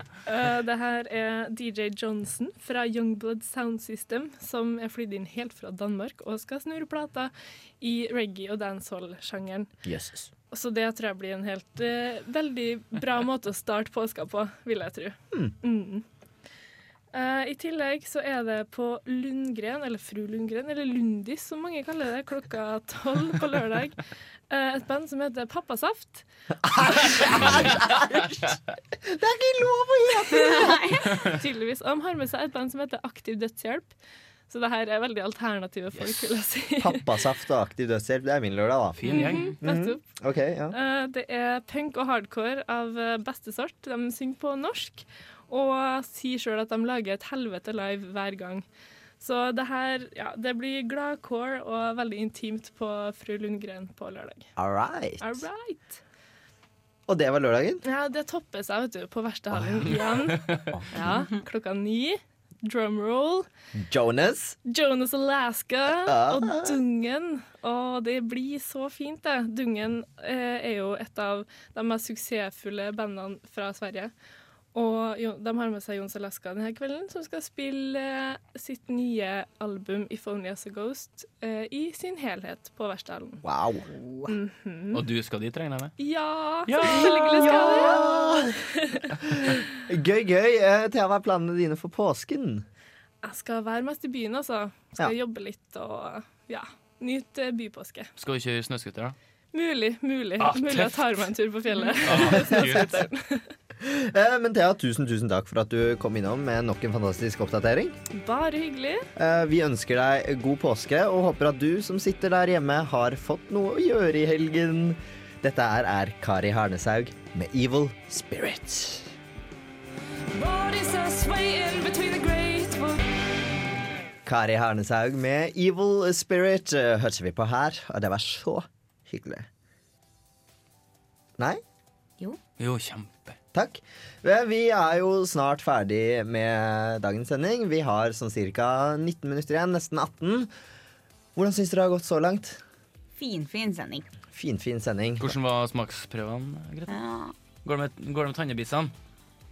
[SPEAKER 5] det her er DJ Johnson fra Youngblood Sound System, som er flydd inn helt fra Danmark og skal snurre plata i reggae- og dancehall-sjangeren.
[SPEAKER 1] Jøsses.
[SPEAKER 5] Så det tror jeg blir en helt eh, veldig bra måte å starte påska på, vil jeg tro. Mm. Eh, I tillegg så er det på Lundgren, eller Fru Lundgren, eller Lundis som mange kaller det, klokka tolv på lørdag. eh, et band som heter Pappasaft.
[SPEAKER 1] Det er ikke lov å gjøre!
[SPEAKER 5] Tydeligvis. Og de har med seg et band som heter Aktiv Dødshjelp. Så det her er veldig alternative folk,
[SPEAKER 2] Yes.
[SPEAKER 5] vil jeg si.
[SPEAKER 1] Pappasaft og aktiv dødshjelp, det er min lørdag, da.
[SPEAKER 2] Fin gjeng.
[SPEAKER 5] Nettopp.
[SPEAKER 1] Ok, ja.
[SPEAKER 5] Eh, Det er punk og hardcore av eh, beste sort. De synger på norsk og sier sjøl at de lager et helvete live hver gang. Så det her ja, det blir gladcore og veldig intimt på Fru Lundgren på lørdag.
[SPEAKER 1] All right.
[SPEAKER 5] All right.
[SPEAKER 1] Og det var lørdagen.
[SPEAKER 5] Ja, det topper seg vet du, på verkstedhallen igjen. Ja, klokka ni. Drum roll.
[SPEAKER 1] Jonas.
[SPEAKER 5] Jonas Alaska
[SPEAKER 1] Ah.
[SPEAKER 5] og Dungen. Og det blir så fint, det. Dungen eh, er jo et av de mest suksessfulle bandene fra Sverige. Og jo, de har med seg Jonas Alaska denne kvelden, som skal spille eh, sitt nye album 'If Only As A Ghost' eh, i sin helhet på Verkstedhallen.
[SPEAKER 1] Wow.
[SPEAKER 2] Og du skal dit, regner jeg med?
[SPEAKER 5] Ja, selvfølgelig skal vi det!
[SPEAKER 1] Gøy, gøy. Eh, Thea, hva er planene dine for påsken?
[SPEAKER 5] Jeg skal være mest i byen, altså. Skal
[SPEAKER 1] Ja.
[SPEAKER 5] jobbe litt og ja. Nyte bypåske.
[SPEAKER 2] Skal vi kjøre snøscooter, da?
[SPEAKER 5] Mulig, mulig.
[SPEAKER 2] Ah,
[SPEAKER 5] mulig jeg
[SPEAKER 2] tøft.
[SPEAKER 5] tar meg en tur på fjellet.
[SPEAKER 2] Kult.
[SPEAKER 1] Eh, men Thea, tusen, tusen takk for at du kom innom med nok en fantastisk oppdatering.
[SPEAKER 5] Bare hyggelig.
[SPEAKER 1] Eh, Vi ønsker deg god påske og håper at du som sitter der hjemme, har fått noe å gjøre i helgen. Dette er, er Kari Harnesaug med Evil Spirit. Kari Harnesaug med Evil Spirit eh, hørte vi på her, og det var så hyggelig. Nei?
[SPEAKER 2] Jo, kjempe.
[SPEAKER 1] Takk. Vel, Vi er jo snart ferdig med dagens sending. Vi har sånn ca. 19 minutter igjen, nesten 18. Hvordan syns dere det har gått så langt?
[SPEAKER 3] Finfin sending.
[SPEAKER 1] Finfin sending.
[SPEAKER 2] Hvordan var smaksprøvene, Grete?
[SPEAKER 3] Ja.
[SPEAKER 2] Går det med, går det med tannebissene?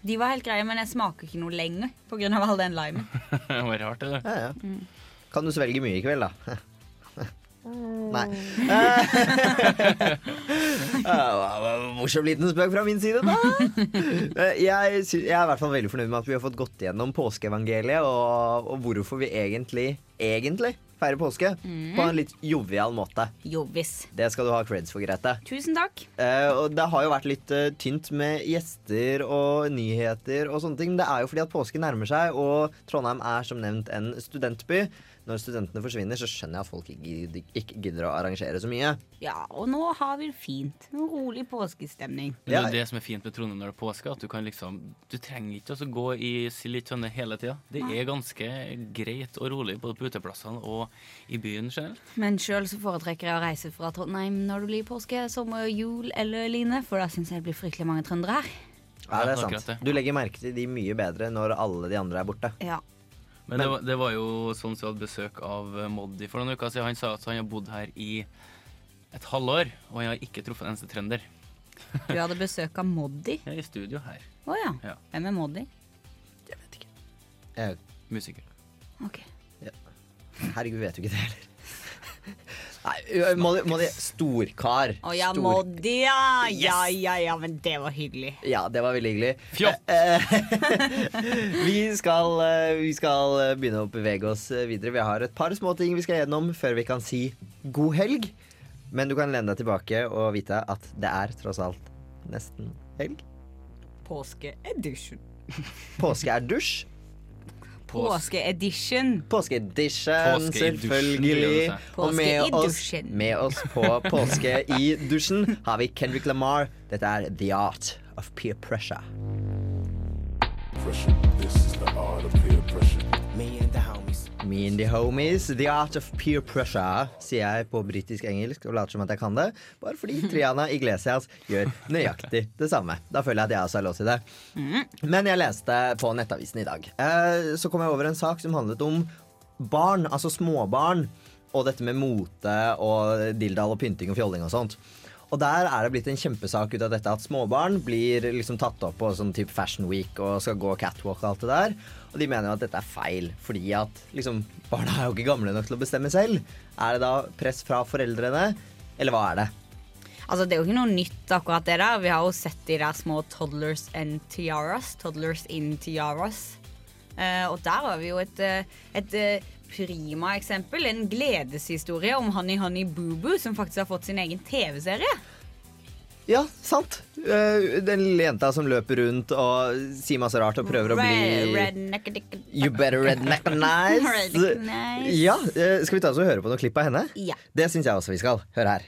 [SPEAKER 3] De var helt greie, men jeg smaker ikke noe lenger pga. all den limen.
[SPEAKER 2] Det var rart, det. der.
[SPEAKER 1] Ja, ja. Kan du svelge mye i kveld, da? Nei. Eh, eh, Morsom liten spøk fra min side, da. Eh, Jeg, sy- jeg er i hvert fall veldig fornøyd med at vi har fått gått gjennom påskeevangeliet, og, og hvorfor vi egentlig, egentlig feirer påske på en litt jovial måte.
[SPEAKER 3] Jovis.
[SPEAKER 1] Det skal du ha creds for, Grete.
[SPEAKER 3] Tusen takk.
[SPEAKER 1] Eh, og det har jo vært litt eh, tynt med gjester og nyheter og sånne ting. Men det er jo fordi at påsken nærmer seg, og Trondheim er som nevnt en studentby. Når studentene forsvinner, så skjønner jeg at folk ikke gidder, ikke gidder å arrangere så mye.
[SPEAKER 3] Ja, og nå har vi det fint. En rolig påskestemning.
[SPEAKER 2] Men Det er
[SPEAKER 1] Ja.
[SPEAKER 2] jo det som er fint med Trondheim når det er påske, at du kan liksom Du trenger ikke å gå i sild i tønne hele tida. Det er ganske greit og rolig både på uteplassene og i byen generelt.
[SPEAKER 3] Men sjøl foretrekker jeg å reise fra Trondheim når det blir påske, sommer, jul eller lignende, for da syns jeg det blir fryktelig mange trøndere her.
[SPEAKER 1] Ja, det er
[SPEAKER 2] Ja, akkurat
[SPEAKER 1] sant.
[SPEAKER 2] det.
[SPEAKER 1] Du legger merke til de mye bedre når alle de andre er borte.
[SPEAKER 3] Ja.
[SPEAKER 2] Men det var, det var jo sånn som vi hadde besøk av eh, Moddi for noen uker siden. Han sa at han har bodd her i et halvår, og han har ikke truffet en eneste trønder.
[SPEAKER 3] Du hadde besøk av Moddi.
[SPEAKER 2] Jeg er i studio her.
[SPEAKER 3] Å ja.
[SPEAKER 2] Ja.
[SPEAKER 3] Hvem er Moddi?
[SPEAKER 1] Eh,
[SPEAKER 2] Musiker.
[SPEAKER 3] Ok.
[SPEAKER 1] herregud, vet du ikke det heller? Nei, må de, må de Storkar.
[SPEAKER 3] Å ja,
[SPEAKER 1] Stor-
[SPEAKER 3] Moddi, ja. Ja, ja, ja, men det var hyggelig.
[SPEAKER 1] Ja, det var veldig hyggelig.
[SPEAKER 2] Fjott!
[SPEAKER 1] Vi skal, eh, vi skal eh, begynne å bevege oss eh, videre. Vi har et par små ting vi skal gjennom før vi kan si god helg. Men du kan lene deg tilbake og vite at det er tross alt nesten helg.
[SPEAKER 3] Påskeedition.
[SPEAKER 1] Påske er dusj.
[SPEAKER 3] Påskeedition.
[SPEAKER 1] Påskeedition,
[SPEAKER 2] Påske i dusjen,
[SPEAKER 1] selvfølgelig.
[SPEAKER 2] gjør det seg.
[SPEAKER 1] Og med
[SPEAKER 3] Påske i
[SPEAKER 1] oss,
[SPEAKER 3] dusjen.
[SPEAKER 1] med oss på Påske i dusjen har vi Kendrick Lamar. Dette er The Art of Peer Pressure.
[SPEAKER 8] Pressure. This is the art of peer pressure.
[SPEAKER 1] Me and the homies, the art of peer pressure, sier jeg på britisk engelsk og later som at jeg kan det, bare fordi Triana Iglesias gjør nøyaktig det samme. Da føler jeg at jeg også har lov til det.
[SPEAKER 3] Mm.
[SPEAKER 1] Men jeg leste på Nettavisen i dag. Eh, Så kom jeg over en sak som handlet om barn, altså småbarn, og dette med mote og dilldall og pynting og fjolling og sånt. Og der er det blitt en kjempesak ut av dette at småbarn blir liksom tatt opp på sånn type Fashion Week og skal gå catwalk og alt det der. Og de mener jo at dette er feil, fordi at liksom barna er jo ikke gamle nok til å bestemme selv. Er det da press fra foreldrene, eller hva er det?
[SPEAKER 3] Altså, det er jo ikke noe nytt akkurat det der. Vi har jo sett de der små toddlers and tiaras. Toddlers in tiaras. Eh, og der har vi jo et, eh, et eh, prima eksempel. En gledeshistorie om Honey Honey Boo Boo, som faktisk har fått sin egen TV-serie.
[SPEAKER 1] Ja, sant. Eh, Den lille jenta som løper rundt og sier masse rart og prøver å bli You better redneckanize.
[SPEAKER 3] Redneckanize.
[SPEAKER 1] Ja, eh, skal vi ta oss og høre på noen klipp av henne?
[SPEAKER 3] Ja.
[SPEAKER 1] Det syns jeg også vi skal. Hør her.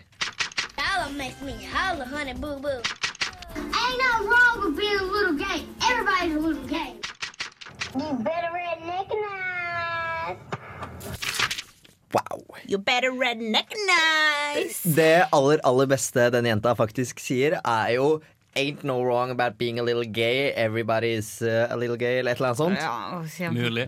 [SPEAKER 9] Dollar makes me holler, honey, boo boo. Ain't nothing wrong with being a little gang. Everybody's a little gang. You better redneck eyes.
[SPEAKER 1] Wow.
[SPEAKER 3] You better redneck nice.
[SPEAKER 1] Det aller, aller beste den jenta faktisk sier, er jo Ain't no wrong about being a little gay. Everybody's eh, a little gay, eller et eller annet sånt.
[SPEAKER 3] Ja, kjempe-
[SPEAKER 2] Mulig.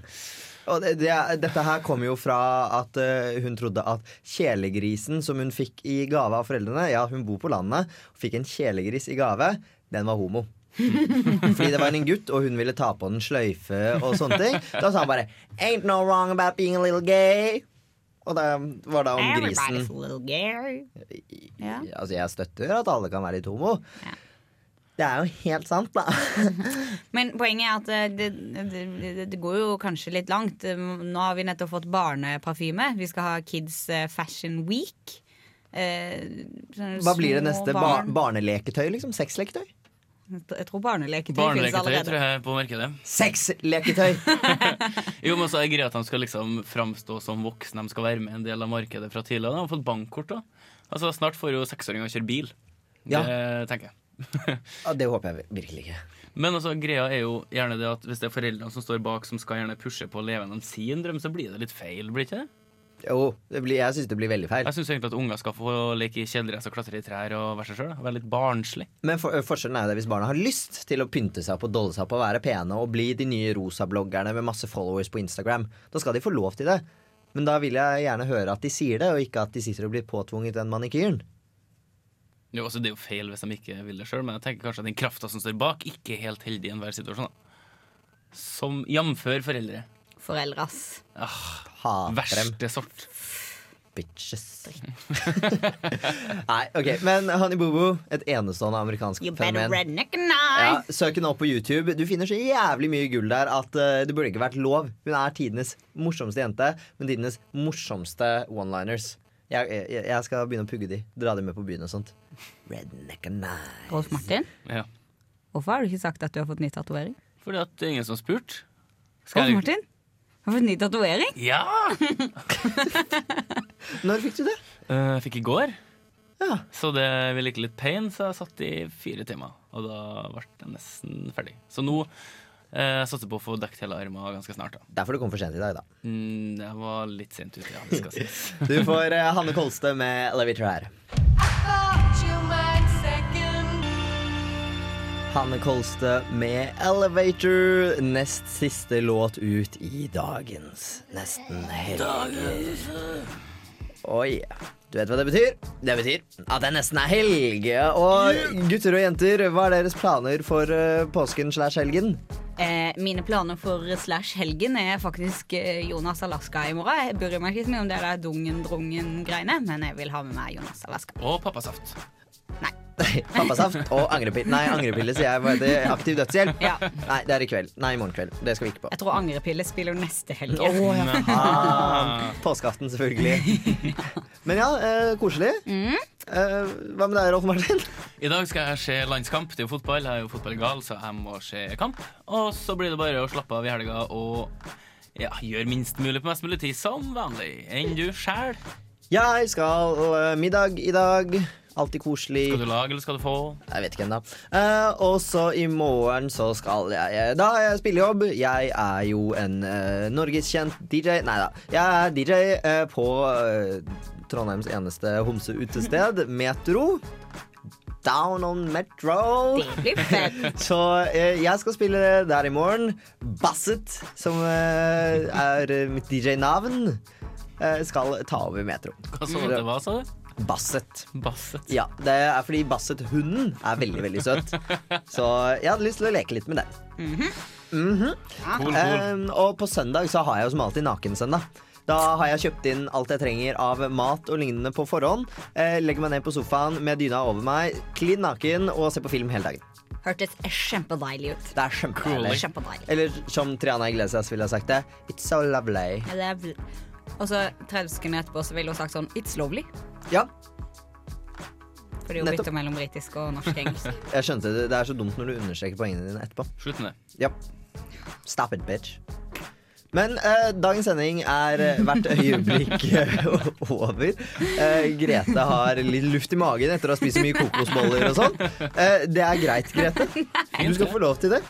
[SPEAKER 1] Og det, det, er- dette her kommer jo fra at eh, hun trodde at kjelegrisen som hun fikk i gave av foreldrene Ja, hun bor på landet, fikk en kjelegris i gave. Den var homo. Fordi det var en gutt, og hun ville ta på den sløyfe og sånne ting. Da sa han bare 'Ain't no wrong about being a little gay'. Og det var da om grisen
[SPEAKER 3] Everybody's a little gay. Ja.
[SPEAKER 1] Altså, jeg støtter at alle kan være litt homo.
[SPEAKER 3] Ja.
[SPEAKER 1] Det er jo helt sant, da.
[SPEAKER 3] Men poenget er at eh, det, det, det, det går jo kanskje litt langt. Eh, Nå har vi nettopp fått barneparfyme. Vi skal ha Kids eh, Fashion Week. Eh, sånne
[SPEAKER 1] Hva blir det
[SPEAKER 3] små
[SPEAKER 1] neste? Bar
[SPEAKER 3] barn-
[SPEAKER 1] barneleketøy, liksom? Sexleketøy?
[SPEAKER 3] Jeg tror barneleketøy finnes
[SPEAKER 2] Barneleketøy,
[SPEAKER 3] allerede.
[SPEAKER 2] tror jeg, på markedet.
[SPEAKER 1] Sexleketøy!
[SPEAKER 2] Jo, men så er det greit at de skal liksom framstå som voksne. De skal være med en del av markedet fra tidligere. De har fått bankkort da. Altså, Snart får jo seksåringer kjøre bil.
[SPEAKER 1] Ja.
[SPEAKER 2] Det tenker jeg.
[SPEAKER 1] Ja, det håper jeg virkelig ikke.
[SPEAKER 2] Men altså, greia er jo gjerne det at hvis det er foreldrene som står bak, som skal gjerne pushe på elevene om sin drøm, så blir det litt feil, blir det ikke det?
[SPEAKER 1] Jo, det blir, jeg syns det blir veldig feil.
[SPEAKER 2] Jeg syns egentlig at unger skal få leke i kjeledress og klatre i trær og være seg sjøl. Være litt barnslig.
[SPEAKER 1] Men for, eh, forskjellen er jo det hvis barna har lyst til å pynte seg opp og dolle seg opp og være pene og bli de nye rosabloggerne med masse followers på Instagram. Da skal de få lov til det. Men da vil jeg gjerne høre at de sier det, og ikke at de sitter og blir påtvunget den manikyren.
[SPEAKER 2] Jo, altså, det er jo feil hvis de ikke vil det sjøl, men jeg tenker kanskje at den krafta som står bak, ikke er helt heldig i enhver situasjon. Da. Som jamfør foreldre.
[SPEAKER 3] Foreldras.
[SPEAKER 1] Ha frem
[SPEAKER 2] Verste sort.
[SPEAKER 1] bitches. Nei, ok. Men Honey Boo Boo, et enestående amerikansk
[SPEAKER 3] You better
[SPEAKER 1] fenomen.
[SPEAKER 3] redneck nice.
[SPEAKER 1] Ja, søk henne opp på YouTube. Du finner så jævlig mye gull der at eh, det burde ikke vært lov. Hun er tidenes morsomste jente, men tidenes morsomste one-liners. Jeg, jeg, jeg skal begynne å pugge de. Dra de med på byen og sånt. Redneck and nice.
[SPEAKER 3] Rolf Martin,
[SPEAKER 2] Ja.
[SPEAKER 3] hvorfor har du ikke sagt at du har fått ny tatovering?
[SPEAKER 2] Fordi at det er ingen som har spurt. Skal
[SPEAKER 3] Rolf
[SPEAKER 2] jeg-
[SPEAKER 3] Martin, har du fått ny tatovering?
[SPEAKER 2] Ja!
[SPEAKER 1] Når fikk du det?
[SPEAKER 2] Eh, Jeg fikk i går.
[SPEAKER 1] Ja.
[SPEAKER 2] Så det ville ikke litt pain, så jeg satt i fire timer. Og da ble jeg nesten ferdig. Så nå eh, jeg satser på å få dekt hele armen ganske snart. da.
[SPEAKER 1] Derfor du kom for sent i dag, da.
[SPEAKER 2] Mm, jeg var litt sent ute, ja. Det skal sies.
[SPEAKER 1] Du får eh, Hanne Kolstø med Elevator her. Hanne Kolstø med Elevator. Nest siste låt ut i dagens Nesten helg. Oi. Du vet hva det betyr? Det betyr at det nesten er helg. Og gutter og jenter, hva er deres planer for eh, påsken slash helgen?
[SPEAKER 3] Eh, mine planer for slash helgen er faktisk eh, Jonas Alaska i morgen. Jeg bryr meg ikke så mye om det der dungen-drungen-greiene, men jeg vil ha med meg Jonas Alaska.
[SPEAKER 2] Og pappasaft.
[SPEAKER 1] Pappasaft og angrepille. Nei, angrepille sier jeg. Hva heter det? Aktiv dødshjelp?
[SPEAKER 3] Ja.
[SPEAKER 1] Nei, det er i kveld. Nei, i morgen kveld. Det skal vi ikke på.
[SPEAKER 3] Jeg tror angrepiller spiller jo neste helg.
[SPEAKER 2] Mm, eh,
[SPEAKER 1] Ah, påskeaften, selvfølgelig. Men ja, eh, koselig. Eh, hva med deg, Rolf Martin?
[SPEAKER 2] I dag skal jeg se landskamp. Det er jo fotball. Jeg er jo fotballgal, så jeg må se kamp. Og så blir det bare å slappe av i helga og ja, gjøre minst mulig på mest mulig tid, som vanlig. Enn du sjæl.
[SPEAKER 1] Jeg skal eh, middag i dag. Alltid koselig.
[SPEAKER 2] Skal du lage, eller skal du få?
[SPEAKER 1] Jeg vet ikke ennå. Eh, og så i morgen så skal jeg eh, Da har jeg spillejobb. Jeg er jo en eh, norgeskjent DJ. Nei da. Jeg er DJ eh, på eh, Trondheims eneste homseutested, Metro. Down on Metro.
[SPEAKER 3] Det blir fett.
[SPEAKER 1] Så eh, jeg skal spille der i morgen. Basset, som eh, er eh, mitt DJ-navn, eh, skal ta over Metro.
[SPEAKER 2] Hva sa du at det var, sa du?
[SPEAKER 1] Basset.
[SPEAKER 2] Basset.
[SPEAKER 1] Ja, det er fordi Basset-hunden er veldig, veldig søt. Så jeg hadde lyst til å leke litt med den.
[SPEAKER 2] Mhm. Cool, cool.
[SPEAKER 1] Eh, og på søndag så har jeg jo som alltid nakensøndag. Da har jeg kjøpt inn alt jeg trenger av mat og lignende på forhånd. Eh, legger meg ned på sofaen med dyna over meg, klin naken og ser på film hele dagen.
[SPEAKER 3] Hørtes kjempedeilig ut.
[SPEAKER 1] Det er kjempedeilig.
[SPEAKER 3] Kjempedeilig.
[SPEAKER 1] Eller som Triana Iglesias ville ha sagt det. It's so lovely.
[SPEAKER 3] Ja, det er bl- Og så 30 sekunder etterpå så ville hun sagt sånn It's lovely.
[SPEAKER 1] Ja.
[SPEAKER 3] For det er jo
[SPEAKER 1] Nettopp.
[SPEAKER 3] bytte mellom britisk og norsk-engelsk.
[SPEAKER 1] Jeg skjønte det. Det er så dumt når du understreker poengene dine etterpå.
[SPEAKER 2] Slutt med det.
[SPEAKER 1] Ja. Stop it, bitch. Men eh, dagens sending er eh, hvert øyeblikk eh, over. Eh, Grete har litt luft i magen etter å ha spist så mye kokosboller og sånn. Eh, det er greit, Grete. Du skal få lov til det.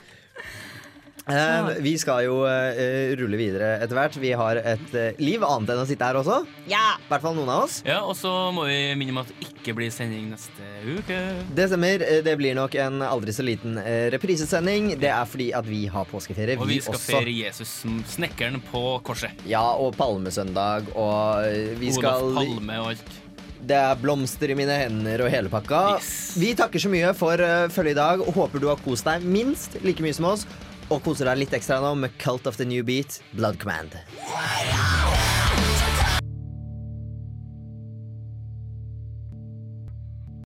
[SPEAKER 1] Eh, vi skal jo eh, rulle videre etter hvert. Vi har et eh, liv annet enn å sitte her også.
[SPEAKER 3] Ja!
[SPEAKER 1] I hvert fall noen av oss.
[SPEAKER 2] Ja, og så må vi minne om at det ikke blir sending neste uke.
[SPEAKER 1] Det stemmer. eh, Det blir nok en aldri så liten eh, reprisesending. Det er fordi at vi har påskeferie,
[SPEAKER 2] Og vi skal
[SPEAKER 1] også.
[SPEAKER 2] feire Jesus som snekkeren på korset.
[SPEAKER 1] Ja, og palmesøndag, og eh, vi skal
[SPEAKER 2] Olof Palme og alt.
[SPEAKER 1] Det er blomster i mine hender og hele pakka.
[SPEAKER 2] Yes.
[SPEAKER 1] Vi takker så mye for eh, følget i dag, og håper du har kost deg minst like mye som oss. Og koser deg litt ekstra nå med Cult of the New Beat, Blood Command.